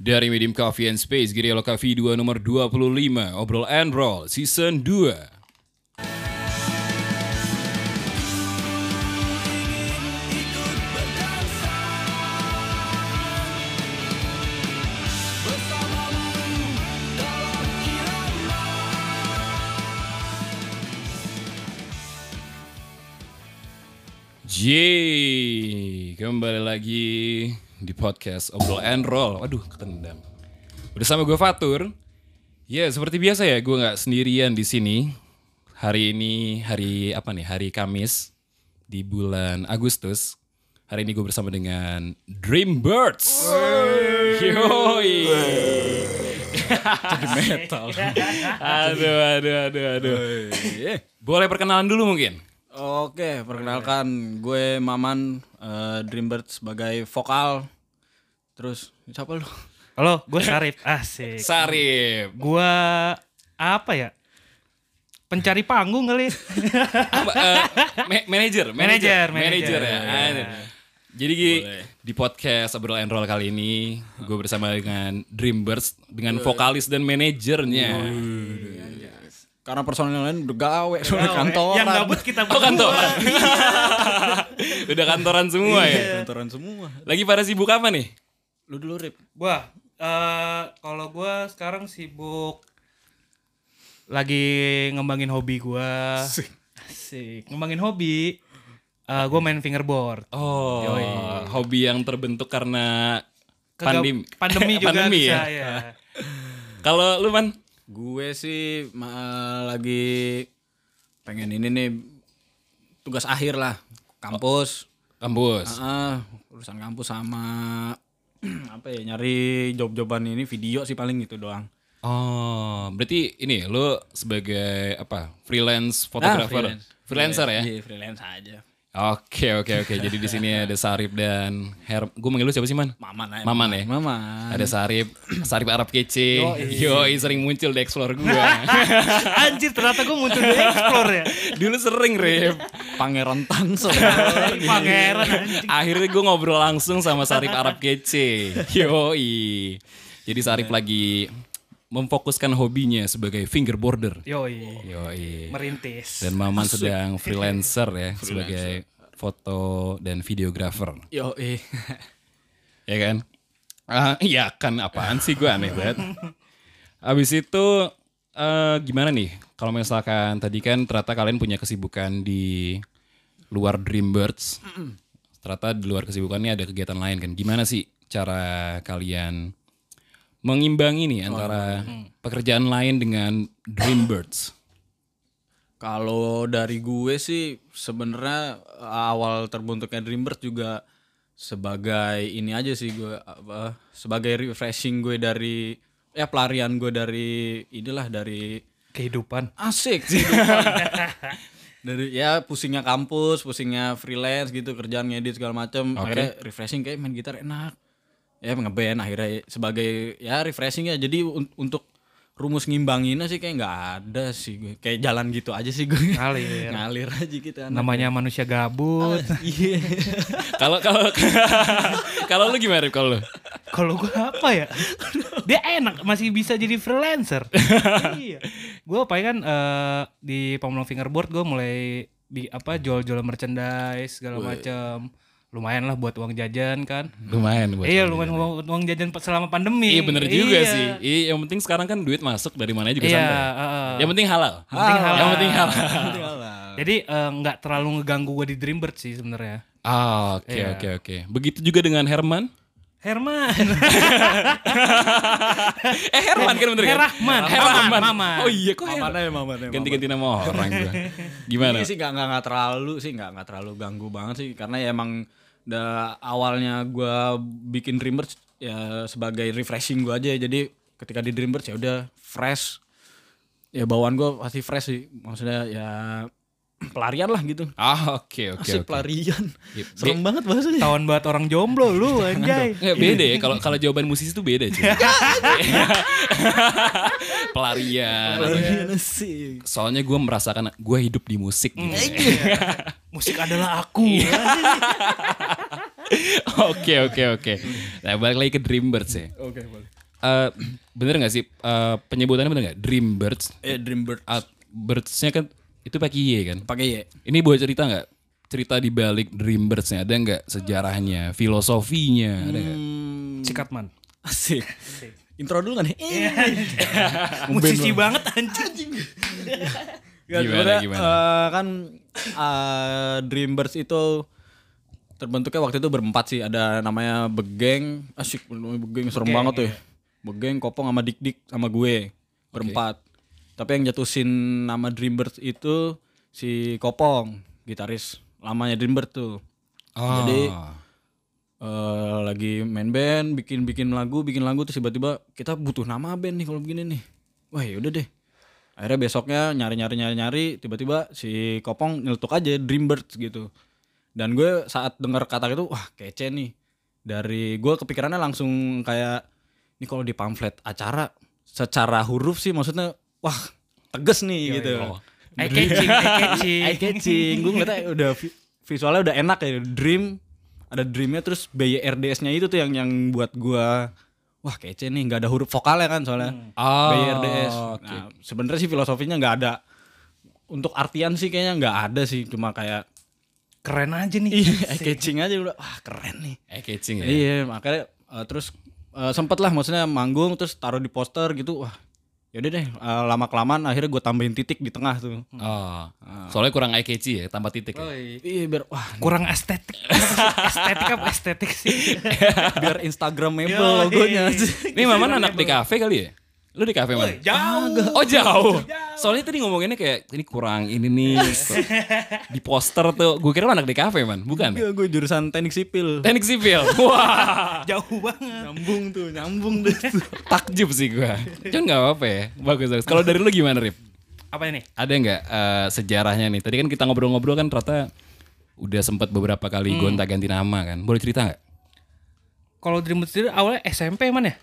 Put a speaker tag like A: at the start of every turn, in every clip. A: Dari Medium Coffee and Space, Giriolo Coffee 2 nomor 25, Obrol and Roll, Season 2. Yeay, kembali lagi di podcast Obrol and Roll. Waduh, ketendang. Bersama gue Fatur. Ya, seperti biasa ya, gue nggak sendirian di sini. Hari ini hari apa nih? Hari Kamis di bulan Agustus. Hari ini gue bersama dengan Dreambirds. Yoi. Jadi metal. aduh, aduh, aduh, aduh. Eh, Boleh perkenalan dulu mungkin?
B: Oke, perkenalkan gue Maman eh, Dreambird sebagai vokal. Terus siapa lu?
C: Halo, gue Sarif. Asik.
A: Sarip.
C: Gue apa ya? Pencari panggung kali.
A: Apa, eh, ma- manager,
C: Manager, Iya.
A: manager,
C: manager.
A: ya. Anjir. Jadi Gi, di podcast Obrol and Roll kali ini gue bersama dengan Dreambirds dengan vokalis dan manajernya.
B: Karena personil yang lain udah gawe, udah kantoran. Iya,
C: Yang gabut kita
A: Oh
C: berdua.
A: kantoran. Udah kantoran semua ya.
C: iya.
B: Kantoran semua.
A: Lagi pada sibuk apa nih?
B: Lu dulu Rip.
C: Wah, eh, kalau gue sekarang sibuk lagi ngembangin hobi gue. Asik. Ngembangin hobi. Eh, gue main fingerboard.
A: Oh, hobi yang terbentuk karena
C: Kegab-
A: pandemi.
C: Pandemi juga
A: Pandemi
C: bisa, iya.
A: ya? Kalau lu man
B: Gue sih ma- eh, lagi pengen ini nih tugas akhir lah, kampus.
A: kampus.
B: Ah, urusan kampus sama apa ya nyari job-joban ini video sih paling gitu doang.
A: Oh, berarti ini lu sebagai apa? Freelance
C: Ah,
A: fotografer,
B: freelance.
A: freelancer ya?
B: Iya, freelance aja.
A: Oke oke oke. Jadi di sini ada Sarip dan Her. Gue manggil lu siapa sih man?
B: Maman aja.
A: Maman ya.
B: Maman.
A: Ada Sarip, Sarip Arab kece. Yo, sering muncul di explore gue.
C: Anjir, ternyata gue muncul di explore ya.
A: Dulu sering Rip.
B: Pangeran Tangsel.
C: Pangeran anjing.
A: Akhirnya gue ngobrol langsung sama Sarip Arab kece. Yo, jadi Sarip lagi memfokuskan hobinya sebagai fingerboarder.
C: Yoi.
A: Yo,
C: Merintis.
A: dan Maman sedang freelancer ya sebagai foto dan videografer.
B: Yo, eh.
A: ya kan? Ah, iya kan apaan sih gue aneh banget. Abis itu eh, gimana nih? Kalau misalkan tadi kan ternyata kalian punya kesibukan di luar Dreambirds. Ternyata di luar kesibukannya ada kegiatan lain kan. Gimana sih cara kalian mengimbangi nih
C: Oh,
A: antara
C: iya.
A: pekerjaan lain dengan Dreambirds?
B: Kalau dari gue sih sebenarnya eh, awal terbentuknya Dreambird juga sebagai ini aja sih gue apa, sebagai refreshing gue dari ya pelarian gue dari inilah dari
C: Kehidupan.
B: asik kehidupan. dari ya pusingnya kampus, pusingnya freelance gitu kerjaan ngedit segala macam. Akhirnya refreshing kayak main gitar enak. Ya ngeband akhirnya sebagai ya refreshing ya. Jadi un- untuk rumus ngimbanginnya sih kayak nggak ada sih gue. Kayak jalan gitu aja sih gue.
C: Ngalir.
B: Ngalir aja gitu anak.
C: Namanya manusia gabut.
B: Iya.
A: Kalau kalau kalau lu gimana Rip, kalau lu?
C: Kalau gua apa ya? Dia enak masih bisa jadi freelancer. iya. Gua apa kan eh, di Pamulang Fingerboard gua mulai di apa jual-jual merchandise segala macam. Lumayan lah buat uang jajan kan.
A: Lumayan Hmm, buat
C: iya
A: lu.
C: lumayan uang, uang jajan selama pandemi.
A: Iya bener juga
C: Iya.
A: sih. Iya, yang penting sekarang kan duit masuk dari mana juga
C: Iya,
A: santai.
C: heeh.
A: Yang penting halal.
C: penting halal.
A: Yang penting halal.
C: Jadi eh, nggak terlalu ngeganggu gua di Dreambird sih sebenarnya.
A: Ah, Oke oke oke. Begitu juga dengan Herman.
C: Herman,
A: Eh Herman kan bener kan?
C: Herahman,
A: Herahman.
C: Maman, Maman.
A: Oh iya kok Herman.
B: Mamanya mamanya.
A: Ganti-ganti nama orang gue. Gimana?
B: Iya sih nggak nggak nggak terlalu sih nggak nggak terlalu ganggu banget sih karena ya emang da, awalnya gua bikin Dreamers ya sebagai refreshing gua aja jadi ketika di Dreamers ya udah fresh ya bawaan gua pasti fresh sih maksudnya ya pelarian lah gitu
A: Ah oke oke
B: si
A: oke. Iya.
B: pelarian
A: Yep.
B: serem banget bahasanya
C: tahun buat orang jomblo lu anjay.
A: Nggak, beda ya kalau kalau jawaban musisi itu beda cuy. Pelarian.
B: pelarian sih
A: Soalnya gue merasakan gue
C: Mm. Iya.
A: hidup di musik. gitu.
C: Musik adalah aku.
A: Oke oke oke. Nah balik lagi ke Dreambirds ya.
B: Oke, boleh.
A: Eh, bener gak sih eh, penyebutannya bener gak? Dreambirds?
B: Eh, Dreambird
A: Ah, birdsnya kan itu pakai Y kan?
B: pakai Y.
A: Ini boleh cerita nggak? Cerita di balik Dreambirdsnya ada nggak sejarahnya, filosofinya? Ada nggak?
C: Iya. Cikatman.
B: Hmm, Asik. Intro dulu kan nih.
C: Musisi banget anjing.
A: Gimana,
B: Ya, sebenarnya,
A: gimana?
B: eh, kan eh, Dreambirds itu terbentuknya waktu itu berempat sih. Ada namanya Begeng, asik namanya Begeng serem banget tuh. ya. Begeng, Kopong sama Dik Dik sama gue berempat. Tapi yang jatuhin nama Dreambirds itu si Kopong, gitaris lamanya Dreambirds tuh.
A: Ah,
B: Jadi eh, lagi main band, bikin-bikin lagu, bikin lagu terus tiba-tiba kita butuh nama band nih kalau begini nih. Wah, yaudah deh. Akhirnya besoknya nyari-nyari nyari-nyari tiba-tiba si Kopong nyeletuk aja Dreambirds gitu. Dan gue saat dengar kata itu wah kece nih. Dari gue kepikirannya langsung kayak ini kalau di pamflet acara secara huruf sih maksudnya wah tegas nih gitu.
C: Eye catching, eye catching.
B: Eye catching, gue ngeliatnya udah vi- visualnya udah enak ya, dream ada dreamnya terus BYRDS-nya itu tuh yang yang buat gua wah kece nih nggak ada huruf vokalnya kan soalnya
A: Ah,
B: BYRDS.
A: oke.
B: Nah, sebenarnya sih filosofinya nggak ada untuk artian sih kayaknya nggak ada sih cuma kayak
C: Keren aja nih.
B: eye catching aja udah wah keren nih.
A: eye catching ya.
B: Iya makanya eh, terus eh, sempet lah maksudnya manggung terus taruh di poster gitu wah yaudah deh eh, lama kelamaan akhirnya gue tambahin titik di tengah tuh.
A: Ah, soalnya kurang eye catchy ya, tambah titik ya.
B: Iya biar wah
C: Kurang estetik. estetik apa estetik sih?
B: biar Instagramable
C: Yoi.
B: logonya.
A: Ini Maman anak di kafe kali ya? Lu di kafe mana?
C: Jauh.
A: Oh jauh. Soalnya tadi ngomonginnya kayak ini kurang ini nih. di poster tuh gue kira anak di kafe man, bukan? ya?
B: gue Iya, jurusan teknik sipil.
A: Teknik sipil. Wah.
C: Jauh banget.
B: Nyambung tuh, nyambung deh.
A: takjub sih gua. Cuman nggak apa-apa ya. Bagus bagus. Kalau dari lu gimana Rip?
C: Apa ini?
A: Ada nggak eh, sejarahnya nih? Tadi kan kita ngobrol-ngobrol kan ternyata udah sempat beberapa kali gonta-ganti nama kan. Boleh cerita nggak?
C: Kalau Dream Birds sendiri awalnya SMP emang ya?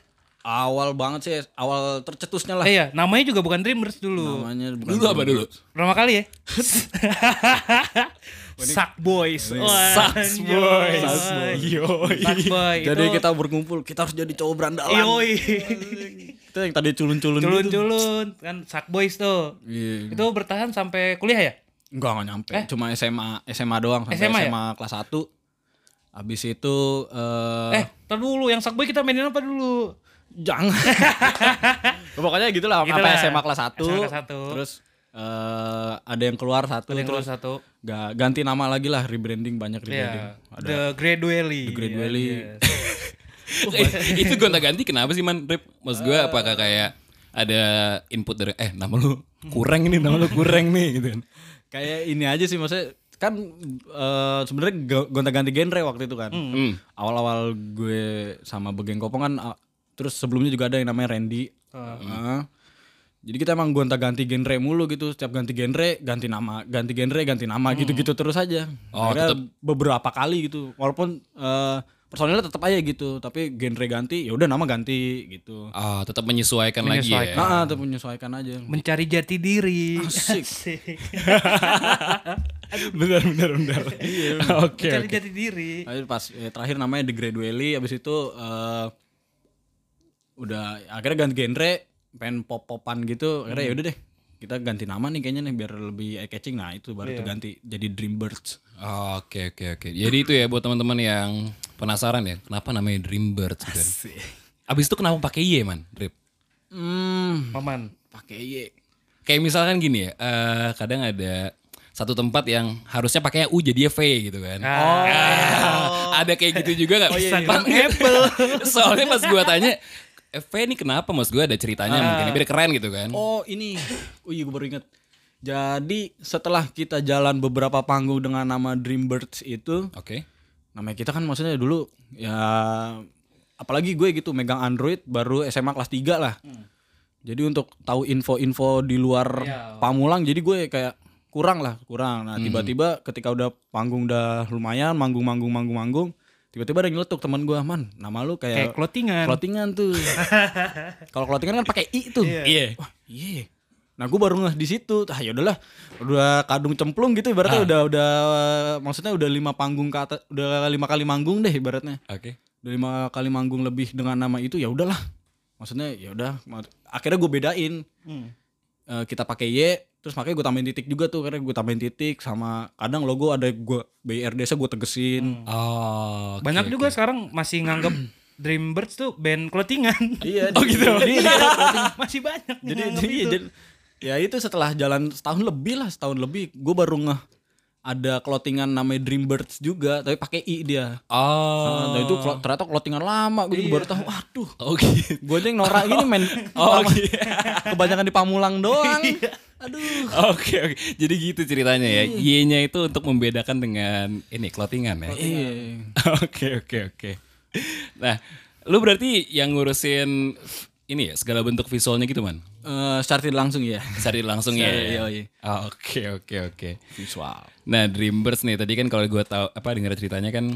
B: awal banget sih, awal tercetusnya lah.
C: Eh, iya, namanya juga bukan Dreamers dulu.
B: Namanya bukan
A: Dulu apa dulu?
C: Pertama kali ya? Suck Boys.
A: Sucks Boys. Yoi.
C: Suck Boys.
B: Jadi kita berkumpul, kita harus jadi cowok berandalan.
C: Yoi.
B: Kita yang tadi culun-culun gitu.
C: Culun-culun. Kan Suck Boys tuh.
B: Iya.
C: Itu bertahan sampai kuliah ya?
B: Enggak, enggak nyampe. Cuma SMA, SMA doang sampai SMA,
C: SMA ya?
B: kelas 1. Abis itu eh
C: Eh, ntar dulu. Yang Suck Boy kita mainin apa dulu?
B: jangan. Pokoknya gitu lah,
C: Gitu
B: sampai
C: lah.
B: SMA kelas 1.
C: SMA kelas satu.
B: Terus eh ada yang keluar satu,
C: Ada yang
B: terus
C: kelas satu.
B: Ga- ganti nama lagi lah rebranding banyak rebranding.
C: Iya. The
B: The
C: Gradually.
B: Gradually.
A: Eh, itu gonta-ganti kenapa sih man Rip? Maksud gue apakah kayak ada input dari eh nama lu kurang ini nama lu kurang nih gitu kan.
B: Kayak ini aja sih maksudnya kan eh, sebenarnya go- gonta-ganti genre waktu itu kan.
A: Mm-hmm. Mm.
B: Awal-awal gue sama Begeng Kopong kan ah, terus sebelumnya juga ada yang namanya Randy. Ah. Jadi kita emang gonta-ganti genre mulu gitu, setiap ganti genre, ganti nama, ganti genre, ganti nama gitu-gitu terus aja.
A: Mm. Oh,
B: Akhirnya beberapa kali gitu. Walaupun eh, personilnya tetap aja gitu, tapi genre ganti, ya udah nama ganti gitu.
A: Ah, tetap menyesuaikan, lagi ya.
B: Nah, tetap menyesuaikan aja.
C: Mencari jati diri.
B: Asik.
C: Asik.
A: benar benar benar.
B: Iya,
A: Oke.
C: Mencari jati diri.
B: Tapi pas eh, terakhir namanya The Gradually abis itu eh, udah akhirnya ganti genre pengen pop-popan gitu akhirnya yaudah deh kita ganti nama nih kayaknya nih biar lebih eye catching nah itu baru tuh ganti jadi Dreambirds
A: Ah, Oke oke oke. Jadi itu ya buat teman-teman yang penasaran ya, kenapa namanya Dreambirds gitu. kan. Abis itu kenapa pakai Y man, Rip?
B: hmm
C: Paman.
B: pakai Y
A: Kayak misalkan gini ya, eh, kadang ada satu tempat yang harusnya pakainya U jadi V gitu kan. Ah, ada kayak gitu juga nggak?
C: Oh, iya,
A: Pas- Soalnya pas gua tanya, eh, V ini kenapa? Mas gua ada ceritanya
C: Ah.
A: mungkin biar keren gitu kan.
B: oh ini oh iya gue baru inget jadi setelah kita jalan beberapa panggung dengan nama Dreambirds itu
A: Oke.
B: namanya kita kan maksudnya dulu ya apalagi gue gitu megang Android baru SMA kelas 3 lah. Jadi untuk tahu info-info di luar Pamulang jadi gue kayak kurang lah, kurang. Nah, tiba-tiba ketika udah panggung udah lumayan manggung-manggung manggung-manggung, tiba-tiba ada yang nyeletuk teman gue, "Man, nama lu kayak,
C: Kayak clothingan.
B: clothingan tuh." Kalau clothingan kan pakai i tuh.
A: Iya.
B: Wah, iya. Nah gue baru ngeh di situ, ah ya udahlah, udah kadung cemplung gitu ibaratnya udah udah maksudnya udah lima panggung ke atas, udah lima kali manggung deh ibaratnya,
A: Oke.
B: udah lima kali manggung lebih dengan nama itu ya udahlah, maksudnya ya udah, ma- akhirnya gue bedain
C: Hmm.
B: Eh, kita pakai Y, terus makanya gue tambahin titik juga tuh karena gue tambahin titik sama kadang logo ada gue BRD gue tegesin,
A: Oh.
C: Banyak juga sekarang masih nganggep Dreambirds tuh band clothingan.
B: Iya. Oh gitu.
C: masih banyak
B: jadi,
C: yang
B: jadi,
C: nganggep itu.
B: jadi- ya itu setelah jalan setahun lebih lah, setahun lebih gue baru ngeh ada clothingan namanya Dreambirds juga, tapi pakai i dia.
A: Oh.
B: Nah, itu clo- ternyata clothingan lama, gue juga baru tahu. Waduh,
A: Oke.
B: gue aja yang norak gini main
A: Oh, oke.
B: kebanyakan di Pamulang doang. Aduh.
A: Oke oke. Jadi gitu ceritanya ya.
C: Hmm.
A: Y-nya itu untuk membedakan dengan ini clothingan ya.
B: Iya.
A: Oke oke oke. Nah, lu berarti yang ngurusin ini ya segala bentuk visualnya gitu man?
B: Eh, started langsung ya.
A: Sari langsung ya.
B: Iya, iya.
A: Ah, Oke oke oke.
B: Visual.
A: Nah, Dreambirds nih tadi kan kalau gue tahu apa denger ceritanya kan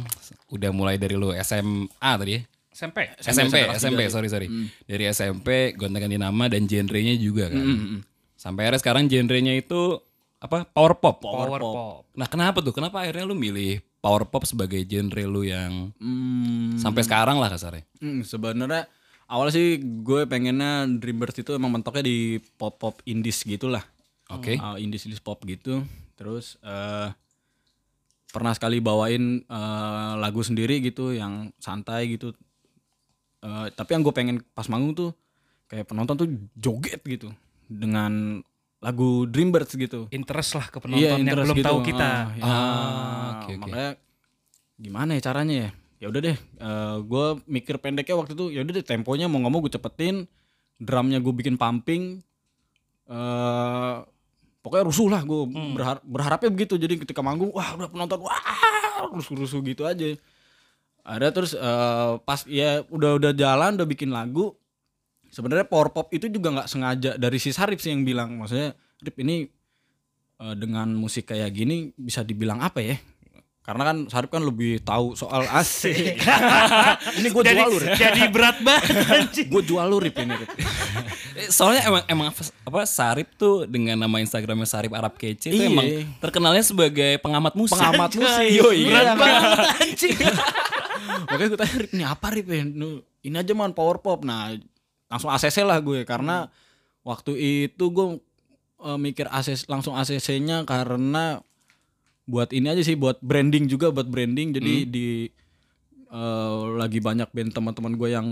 A: udah mulai dari lu SMA tadi ya.
C: SMP.
A: SMP, SMP, sorry sorry.
C: Hmm.
A: Dari SMP gonta-ganti nama dan genrenya juga kan.
C: Hmm,
A: Sampai akhirnya sekarang genrenya itu apa? Power pop.
C: Power pop.
A: Nah, kenapa tuh? Kenapa akhirnya lu milih power pop sebagai genre lu yang
B: Hmm.
A: sampai sekarang lah kasarnya?
B: Hmm, sebenarnya awalnya sih gue pengennya Dreambirds itu emang mentoknya di pop pop indies gitulah.
A: Oke.
B: Uh, indies indies pop gitu. Terus eh pernah sekali bawain eh, lagu sendiri gitu yang santai gitu. Eh, tapi yang gue pengen pas manggung tuh kayak penonton tuh joget gitu dengan lagu Dreambirds gitu.
C: Interest lah ke penonton yang
B: interest
C: belum
B: gitu.
C: tahu kita.
B: Ah, ya. Makanya gimana ya caranya ya? Ya udah deh, gue mikir pendeknya waktu itu ya udah deh temponya mau nggak mau gue cepetin, drumnya gue bikin pumping, eh pokoknya rusuh lah gue berhar- berharapnya begitu. Jadi ketika manggung, wah udah penonton, wah rusuh-rusuh gitu aja. Ada terus eh, pas ya udah udah jalan, udah bikin lagu, sebenarnya power pop itu juga nggak sengaja dari si Sarip sih yang bilang maksudnya Rip ini eh, dengan musik kayak gini bisa dibilang apa ya karena kan Sarip kan lebih tahu soal AC ini gue
C: Jadi,
B: jual lu ya. Rip
C: jadi berat banget anjing.
B: gue jual lu Rip ini Rip
A: Eh, Soalnya emang emang apa- apa Sarip tuh dengan nama Instagramnya Sarip Arab Kece itu
B: Iya.
A: emang terkenalnya sebagai pengamat musik.
B: pengamat musik
A: Yo, iya.
B: Berat makanya gue tanya Rip ini apa Rip ya? Nu- ini aja man power pop nah langsung ACC lah gue karena waktu itu gue eh, mikir ACC langsung ACC-nya karena buat ini aja sih buat branding juga buat branding jadi di eh, lagi banyak band teman-teman gue yang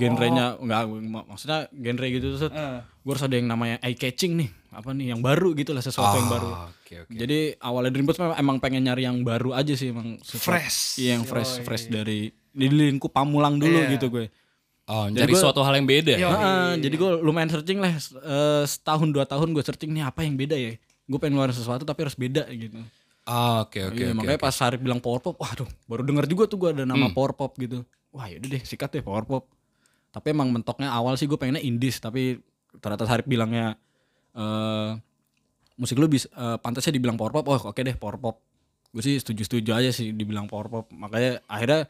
B: genrenya enggak mak- maksudnya genre gitu terus gue harus ada yang namanya eye catching nih apa nih yang baru gitu lah sesuatu yang baru
A: Oke oke.
B: jadi awalnya Dreambirds memang emang pengen nyari yang baru aja sih emang sesuatu-
C: Fresh.
B: Iya yang fresh fresh dari di lingkup Pamulang dulu gitu gue.
A: Oh, jadi Iya. suatu hal yang beda. ya?
C: Yo.
B: Heeh, jadi gue lumayan searching lah s- eh, setahun dua tahun gue searching nih apa yang beda ya. Gue pengen ngeluarin sesuatu tapi harus beda gitu.
A: Ah, Oke oke
B: Iya,
A: oke. Hmm.
B: makanya pas Sarip bilang power pop, waduh baru denger juga tuh gue ada nama power pop gitu. Wah yaudah deh sikat deh power pop. Tapi emang mentoknya awal sih gue pengennya indies tapi ternyata Sarip bilangnya eh musik lu bisa eh, pantasnya dibilang power pop, oh oke deh power pop. Gue sih setuju-setuju aja sih dibilang power pop. Makanya akhirnya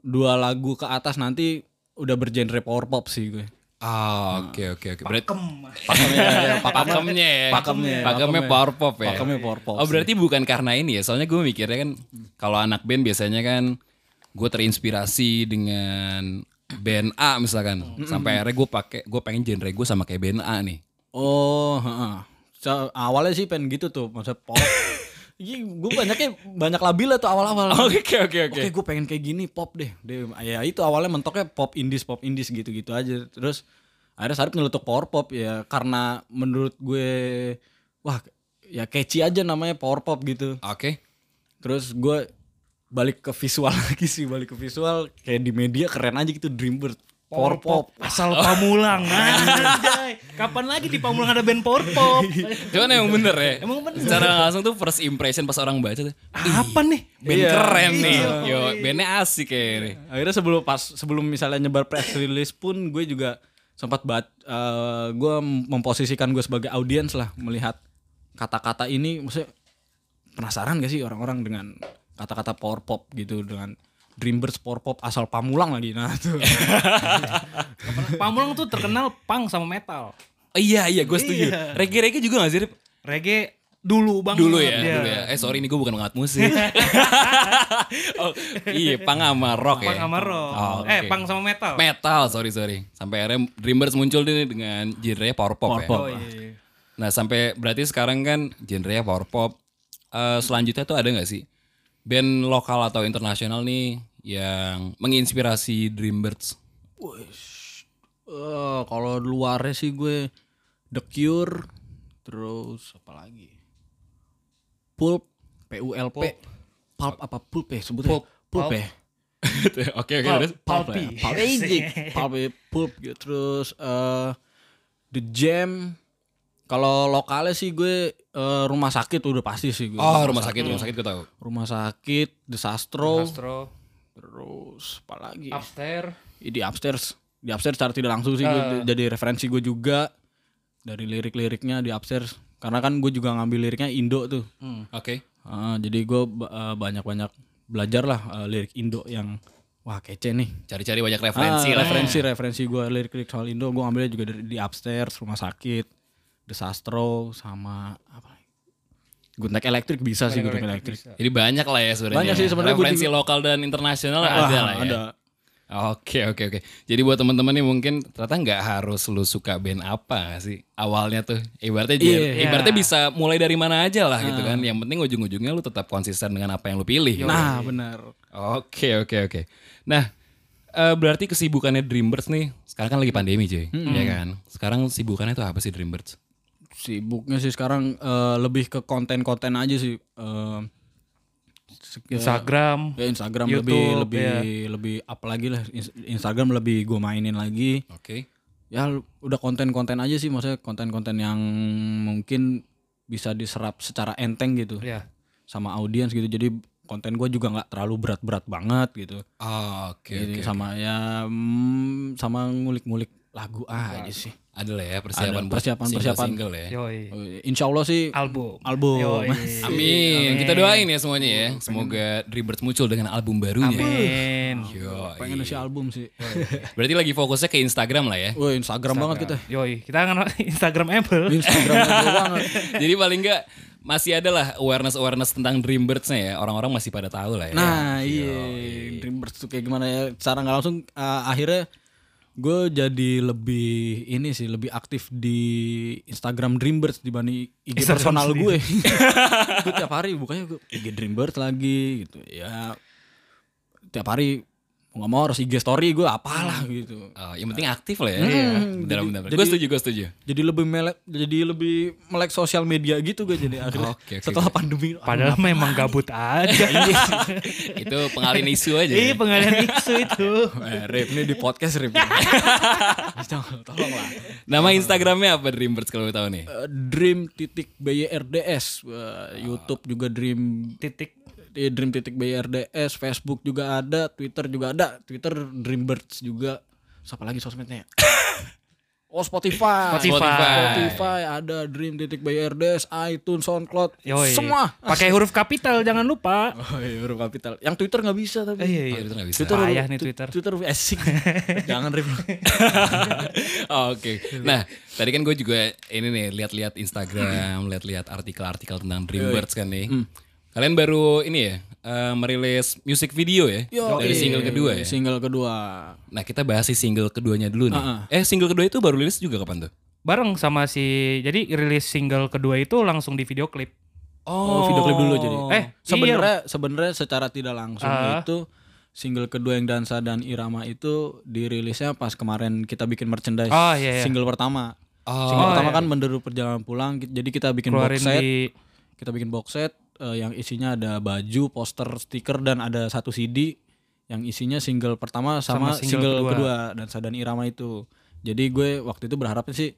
B: dua lagu ke atas nanti udah bergenre power pop sih gue.
A: Ah, Oke oke oke. Berarti iya,
B: Pakemnya,
A: pakemnya ya.
B: Pakemnya,
A: Pakemnya
B: pakemnya.
A: power pop ya.
B: Pakemnya power pop
A: Oh berarti bukan karena ini ya. Soalnya gue mikirnya kan kalau anak band biasanya kan gue terinspirasi dengan band A misalkan. Sampai akhirnya gue pakai gue pengen genre gue sama kayak band A nih.
B: Oh, heeh. So, awalnya sih pengen gitu tuh, masa pop. Iya, gue banyaknya banyak labila tuh awal-awal.
A: Oke oke
B: Oke, gue pengen kayak gini pop deh. Dia- ya itu awalnya mentoknya pop indies, pop indies gitu-gitu aja. Terus akhirnya Sarip nyeletuk power pop ya karena menurut gue wah ya catchy aja namanya power pop gitu.
A: Oke.
B: Terus gue balik ke visual lagi sih, balik ke visual kayak di media keren aja gitu Dreambird. Power pop.
C: Asal Pamulang Oh. anjay. Kapan lagi di Pamulang ada band power pop?
A: Cuman emang bener ya.
C: Emang bener.
A: Secara nggak langsung tuh first impression pas orang baca tuh.
C: Apa nih?
A: Band
B: Iya.
A: keren nih.
C: Iya.
A: Yo, bandnya asik kayak ini.
B: akhirnya sebelum pas sebelum misalnya nyebar press release pun gue juga sempat bat eh, gue memposisikan gue sebagai audiens lah melihat kata-kata ini maksudnya penasaran gak sih orang-orang dengan kata-kata power pop gitu dengan Dreambirds power pop asal Pamulang lagi nah tuh
C: Pamulang tuh terkenal punk sama metal.
A: iya iya gue setuju.
C: Iya.
A: Reggae-reggae juga gak sih? Rip?
C: Reggae dulu Iya. banget
A: Dulu ya,
C: dia.
A: dulu ya. Eh sorry ini gue bukan pengamat musik. oh, iya, pang sama rock ya.
C: Pang sama rock.
A: Oh,
C: Eh,
A: oke.
C: pang sama metal.
A: metal, sorry sorry. Sampai akhirnya Dreamers muncul nih dengan genre power pop, ya.
B: pop.
A: Nah sampai berarti sekarang kan genre power pop. Eh, selanjutnya tuh ada nggak sih band lokal atau internasional nih yang menginspirasi Dreambirds?
B: Eh, kalau luarnya sih gue The Cure, terus apa lagi? Pulp, P U L P. Pulp apa pulp ya sebutnya? Pulp, pulp ya.
A: Oke oke terus.
B: Pulp
C: Pulpy.
B: ya. Pulp, Ejik. Pulp ya, pulp gitu. Terus eh, The Jam. Kalau lokalnya sih gue eh, rumah sakit udah pasti sih gue.
A: Oh rumah sakit rumah sakit gue tahu.
B: Rumah sakit, The Sastro,
C: Astro,
B: terus apa lagi?
C: Upstairs.
B: Ya, di upstairs di upstairs secara tidak langsung sih gue j- jadi referensi gue juga dari lirik-liriknya di upstairs karena kan gue juga ngambil liriknya Indo tuh
A: Oke.
B: Ah, jadi gue ba- eh, banyak-banyak belajar lah eh, lirik Indo yang wah kece nih
A: Cari-cari banyak
B: Ah,
A: referensi lah.
B: referensi referensi gue lirik-lirik soal Indo gue ambilnya juga dari di upstairs rumah sakit The Sastro sama apa lagi? Guntek elektrik bisa sih Guntek elektrik
A: Jadi banyak lah ya sebenarnya.
B: Banyak sih sebenarnya gue
A: Referensi lokal dan internasional ada lah ya.
B: ada
A: Oke oke oke. Jadi buat teman-teman nih mungkin ternyata nggak harus lu suka band apa nggak sih awalnya tuh. Ibaratnya jen-
B: Iya. Ah.
A: ibaratnya bisa mulai dari mana aja lah gitu kan. Yang penting ujung-ujungnya lu tetap konsisten dengan apa yang lu pilih. Nah.
B: nah benar
A: Oke oke oke. Nah eh, berarti kesibukannya Dreambirds nih sekarang kan lagi pandemi cuy,
B: Hmm.
A: ya kan. Sekarang sibukannya tuh apa sih Dreambirds?
B: sibuknya sih sekarang eh, lebih ke konten-konten aja sih Eh, se-
C: Instagram.
B: ya Instagram
C: YouTube,
B: lebih lebih lebih apa lagi lah Ins- Instagram lebih gue mainin lagi
A: Oke.
B: ya lu- udah konten-konten aja sih maksudnya konten-konten yang mungkin bisa diserap secara enteng gitu
C: Ya.
B: sama audiens gitu jadi konten gue juga nggak terlalu berat-berat banget gitu
A: Oke oke.
B: Jadi sama ya mm, sama ngulik-ngulik lagu aja sih
A: Ada lah ya persiapan
B: Ada
A: buat
B: persiapan-
A: single-
B: persiapan.
A: single ya.
C: Yoi.
B: Eh, Insya Allah sih
C: Album.
B: album
C: Yoi.
A: Amin. Kita doain ya semuanya ya. Semoga Dreambirds muncul dengan album barunya.
C: Amin.
A: Yo,
B: pengen sih album sih
A: Berarti lagi fokusnya ke Instagram lah ya.
B: Woi Instagram, banget kita.
C: Yoi, kita kan Instagram Apple.
B: Instagram banget.
A: Jadi paling enggak masih ada lah awareness-awareness tentang Dreambirds-nya ya. Orang-orang masih pada tahu lah ya.
B: Nah, iya. Dreamers tuh kayak gimana ya? Secara nggak langsung uh, akhirnya gue jadi lebih ini sih lebih aktif di Instagram Dreambirds dibanding IG
C: Instagram
B: personal
C: sendiri.
B: gue. gue tiap hari bukannya gue IG Dreambirds lagi gitu. Ya tiap hari mau nggak mau harus IG story gue apalah gitu.
A: Oh, yang penting aktif lah ya. Dalam dalam. Gue setuju, gue setuju.
B: Jadi lebih melek jadi lebih melek sosial media gitu gue jadi akhirnya
A: Oke, oke,
B: setelah pandemi aduh,
C: Padahal memang gabut aja.
A: Itu pengalian isu aja. Nah,
C: Iya,
A: ya.
C: pengalian isu itu.
B: Eh, Rip, ini di podcast Rip. Tolong, tolong lah.
A: Nama Instagramnya apa Dreambirds kalau lo tahu nih?
B: Eh, Dream titik BYRDS, Eh, YouTube juga Dream
C: Titik.
B: eh, Dream titik BYRDS, Facebook juga ada, Twitter juga ada, Twitter Dreambirds juga. Siapa lagi sosmednya? ya? Oh Spotify.
C: Spotify.
B: Spotify ada Dream titik BYRDS, iTunes, SoundCloud,
C: Yoi.
B: semua.
C: Pakai huruf kapital jangan lupa.
B: Oh iya, huruf kapital. Yang Twitter nggak bisa tapi.
C: Eh, Iya, iya.
A: Twitter nggak bisa.
B: Twitter,
C: Payah nih Twitter.
B: Twitter asik. Jangan rip.
A: Oke. Nah, tadi kan gue juga ini nih lihat-lihat Instagram, lihat-lihat artikel-artikel tentang Dreambirds kan nih. Kalian baru ini ya eh, merilis music video ya
B: Yo,
A: dari
B: iya.
A: single kedua ya.
B: Single kedua.
A: Nah, kita bahas si single keduanya dulu nih. Eh, single kedua itu baru rilis juga kapan tuh?
C: Bareng sama si jadi rilis single kedua itu langsung di video klip.
B: Oh, video klip dulu jadi.
C: Eh,
B: sebenarnya sebenarnya secara tidak langsung
C: Ah.
B: itu single kedua yang dansa dan irama itu dirilisnya pas kemarin kita bikin merchandise
C: Oh, iya, iya.
B: single pertama.
A: Oh.
B: single
C: Oh,
B: pertama
C: iya.
B: kan menderu perjalanan pulang. ki- Jadi kita bikin
C: keluarin
B: box set,
C: di
B: kita bikin box set eh, yang isinya ada baju, poster, stiker dan ada satu CD yang isinya single pertama sama,
C: Sama
B: single,
C: single
B: kedua. dansa dan irama itu. Jadi gue waktu itu berharapnya sih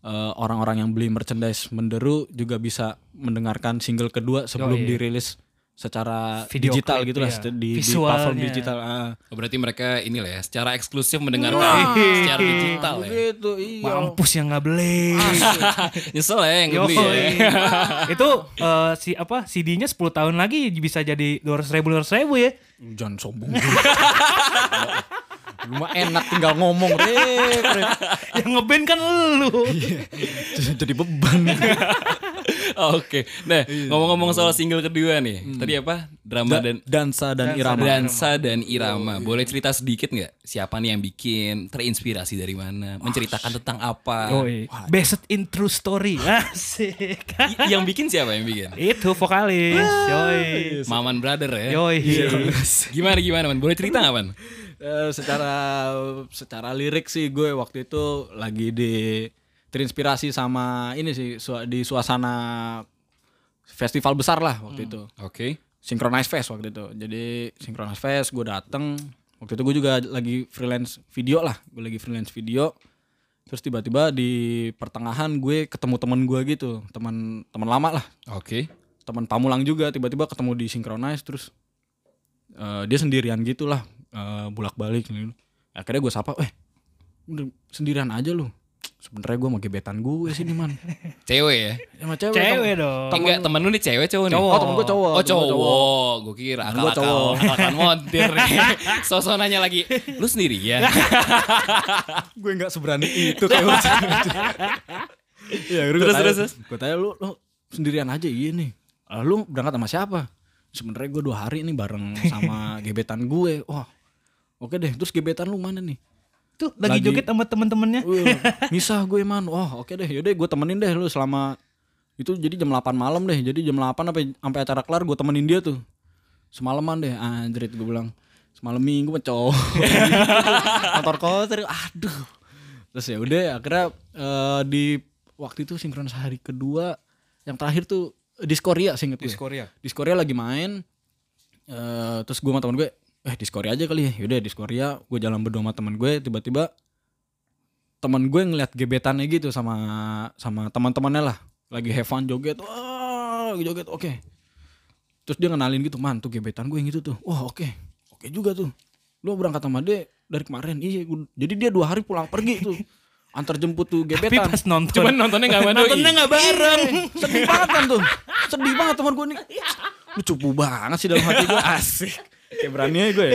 B: eh, orang-orang yang beli merchandise menderu juga bisa mendengarkan single kedua sebelum
C: Yoi.
B: dirilis secara
C: Video
B: digital
C: klip,
B: gitu lah
C: iya.
B: di- di,
C: Visualnya.
B: platform digital. ah.
A: Oh, berarti mereka inilah ya, secara eksklusif mendengarkan secara digital ya.
B: Begitu, iya.
C: mampus yang nggak beli.
A: Nyesel ya yang
C: Yoi.
A: beli ya.
C: itu eh, si apa CD-nya 10 tahun lagi bisa jadi 200 ribu 200 ribu ya.
B: Jangan sombong. Lu mah enak tinggal ngomong, Rek. Rek.
C: yang ngeband kan lu
B: Iya. Jadi- Jadi beban.
A: Oke. Nah, ngomong-ngomong soal single kedua nih. Tadi apa? Drama dan
B: Dansa dan irama.
A: Dansa dan Irama. Boleh cerita sedikit nggak? Siapa nih yang bikin? Terinspirasi dari mana? Menceritakan tentang apa?
C: Yoi. based in true story asik
A: Y- yang bikin siapa yang bikin?
C: itu vokalis yoi
A: Maman Brother ya.
C: yoi
B: Iya.
A: Gimana gimana man? Boleh cerita nggak man?
B: Eh, secara secara lirik sih gue waktu itu lagi di terinspirasi sama ini sih sua- di suasana festival besar lah waktu itu.
A: Oke.
B: Synchronize Fest waktu itu. Jadi Synchronize Fest gue dateng. Waktu itu gue juga lagi freelance video lah. Gue lagi freelance video. Terus tiba-tiba di pertengahan gue ketemu temen gue gitu. Teman teman lama lah.
A: Oke.
B: Teman pamulang juga tiba-tiba ketemu di Synchronize terus eh, dia sendirian gitu lah. eh, bolak-balik gitu. Akhirnya gue sapa, "Eh, lu sendirian aja lu." Sebenernya gue mau gebetan gue sih nih man
A: Cewek ya?
B: Sama cewek,
C: cewek
B: temen-
C: dong
A: Enggak, temen lu nih cewek cowok nih?
B: Oh temen gue cowok
A: Oh
B: temen gue
A: cowok, gue kira
B: Gua cowok.
A: akal-akal akal montir nih. Sosok nanya lagi, lu ya?" sendirian?
B: gue nggak seberani itu kayak ya,
A: Terus,
B: terus,
A: terus,
B: terus,
A: terus.
B: gue tanya lu, lu sendirian aja iya nih "Ah, lu berangkat sama siapa sebenarnya gue dua hari nih bareng sama gebetan gue wah oke deh terus gebetan lu mana nih
C: tuh lagi
B: Lagi-
C: joget sama temen-temennya
B: Wih, misah gue man wah oke deh yaudah gue temenin deh lu selama itu jadi jam 8 malam deh jadi jam 8 sampai sampai acara kelar gue temenin dia tuh semalaman deh anjrit gue bilang semalam minggu mecow motor kotor aduh terus ya udah akhirnya eh, di waktu itu sinkronis hari kedua yang terakhir tuh Diskoria sih inget gue
C: Korea
B: Diskoria lagi main eh terus gue sama temen gue eh Diskoria aja kali ya yaudah Diskoria gue jalan berdua sama temen gue tiba-tiba temen gue ngeliat gebetannya gitu sama sama teman-temannya lah lagi have fun joget wah joget oke terus dia ngenalin gitu man tuh gebetan gue yang itu tuh wah oke oke juga tuh lu berangkat sama dia dari kemarin iya gua- jadi dia dua hari pulang pergi tuh antar jemput tuh
C: tapi
B: gebetan
C: pas nonton
A: Cuman nontonnya gak sama doi.
C: nontonnya nggak bareng
B: sedih banget kan tuh sedih banget teman gue nih lu cupu banget sih dalam hati gue asik kayak berani aja gue ya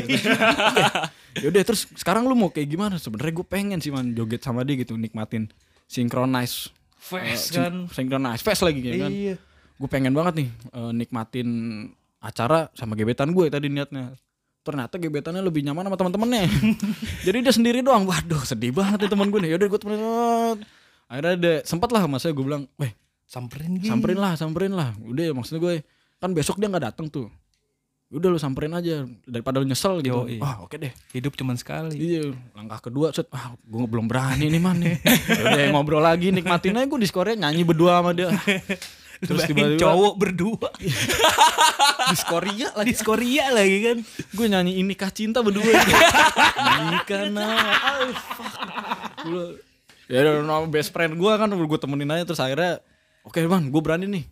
B: yaudah Ya terus sekarang lu mau kayak gimana sebenarnya gue pengen sih man joget sama dia gitu nikmatin synchronize eh,
C: Fest kan
B: syn- synchronize fest lagi kayak kan
C: iya
B: gue pengen banget nih eh, nikmatin acara sama gebetan gue tadi niatnya ternyata gebetannya lebih nyaman sama teman-temannya jadi dia sendiri doang waduh sedih banget nih teman gue nih yaudah gue temenin akhirnya ada sempat lah masanya gue bilang weh
C: samperin gitu
B: samperin lah samperin lah udah maksud gue kan besok dia nggak datang tuh udah lu samperin aja daripada lu nyesel gitu
C: Yoi.
B: wah oke deh
C: hidup cuman sekali
B: Iya, langkah kedua set ah gue belum berani nih man nih udah ngobrol lagi nikmatin aja gue di skornya nyanyi berdua sama dia
C: terus
B: terus
C: tiba
B: tiba-tiba-
C: cowok berdua
B: di skoria
C: di Korea lagi kan
B: gue nyanyi ini kah cinta berdua nikah nah oh, fuck. Gua- ya udah nama best friend gue kan gue temenin aja terus akhirnya oke bang gue berani nih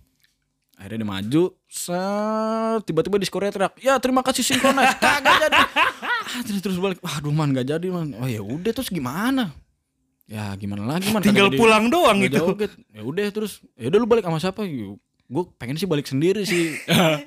B: akhirnya dia maju set, tiba-tiba di Korea teriak ya terima kasih sinkronis kagak jadi ah, terus terus balik aduh man gak jadi man oh ya udah terus gimana ya gimana lagi man
C: tinggal
B: Kagak jadi.
C: pulang doang
B: Nggak
C: gitu
B: joget. Ya udah terus ya udah lu balik sama siapa? Gue pengen sih balik sendiri sih.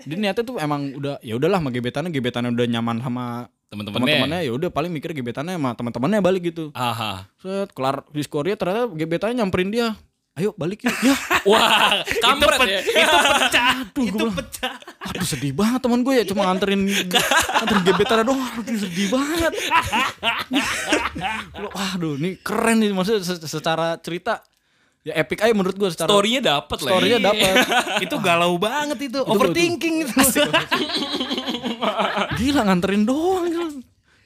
B: Dia niatnya tuh emang udah ya udahlah sama gebetannya, gebetannya udah nyaman sama
A: Temen-temennya.
B: teman-temannya ya udah paling mikir gebetannya sama teman-temannya balik gitu.
A: Aha.
B: Set kelar di Korea ternyata gebetannya nyamperin dia. Ayo balik yuk. Ya,
A: Wah, kampret ya.
C: itu pecah itu
B: bilang.
C: pecah
B: aduh sedih banget teman gue ya cuma nganterin nganterin gebetannya doang. Aduh sedih banget. Gua, Waduh, ini keren nih maksudnya se- secara cerita ya epic aja menurut gue secara
A: Story-nya dapet lah. ya.
B: story-nya dapat.
C: itu galau banget itu overthinking itu
B: gila nganterin doang gila.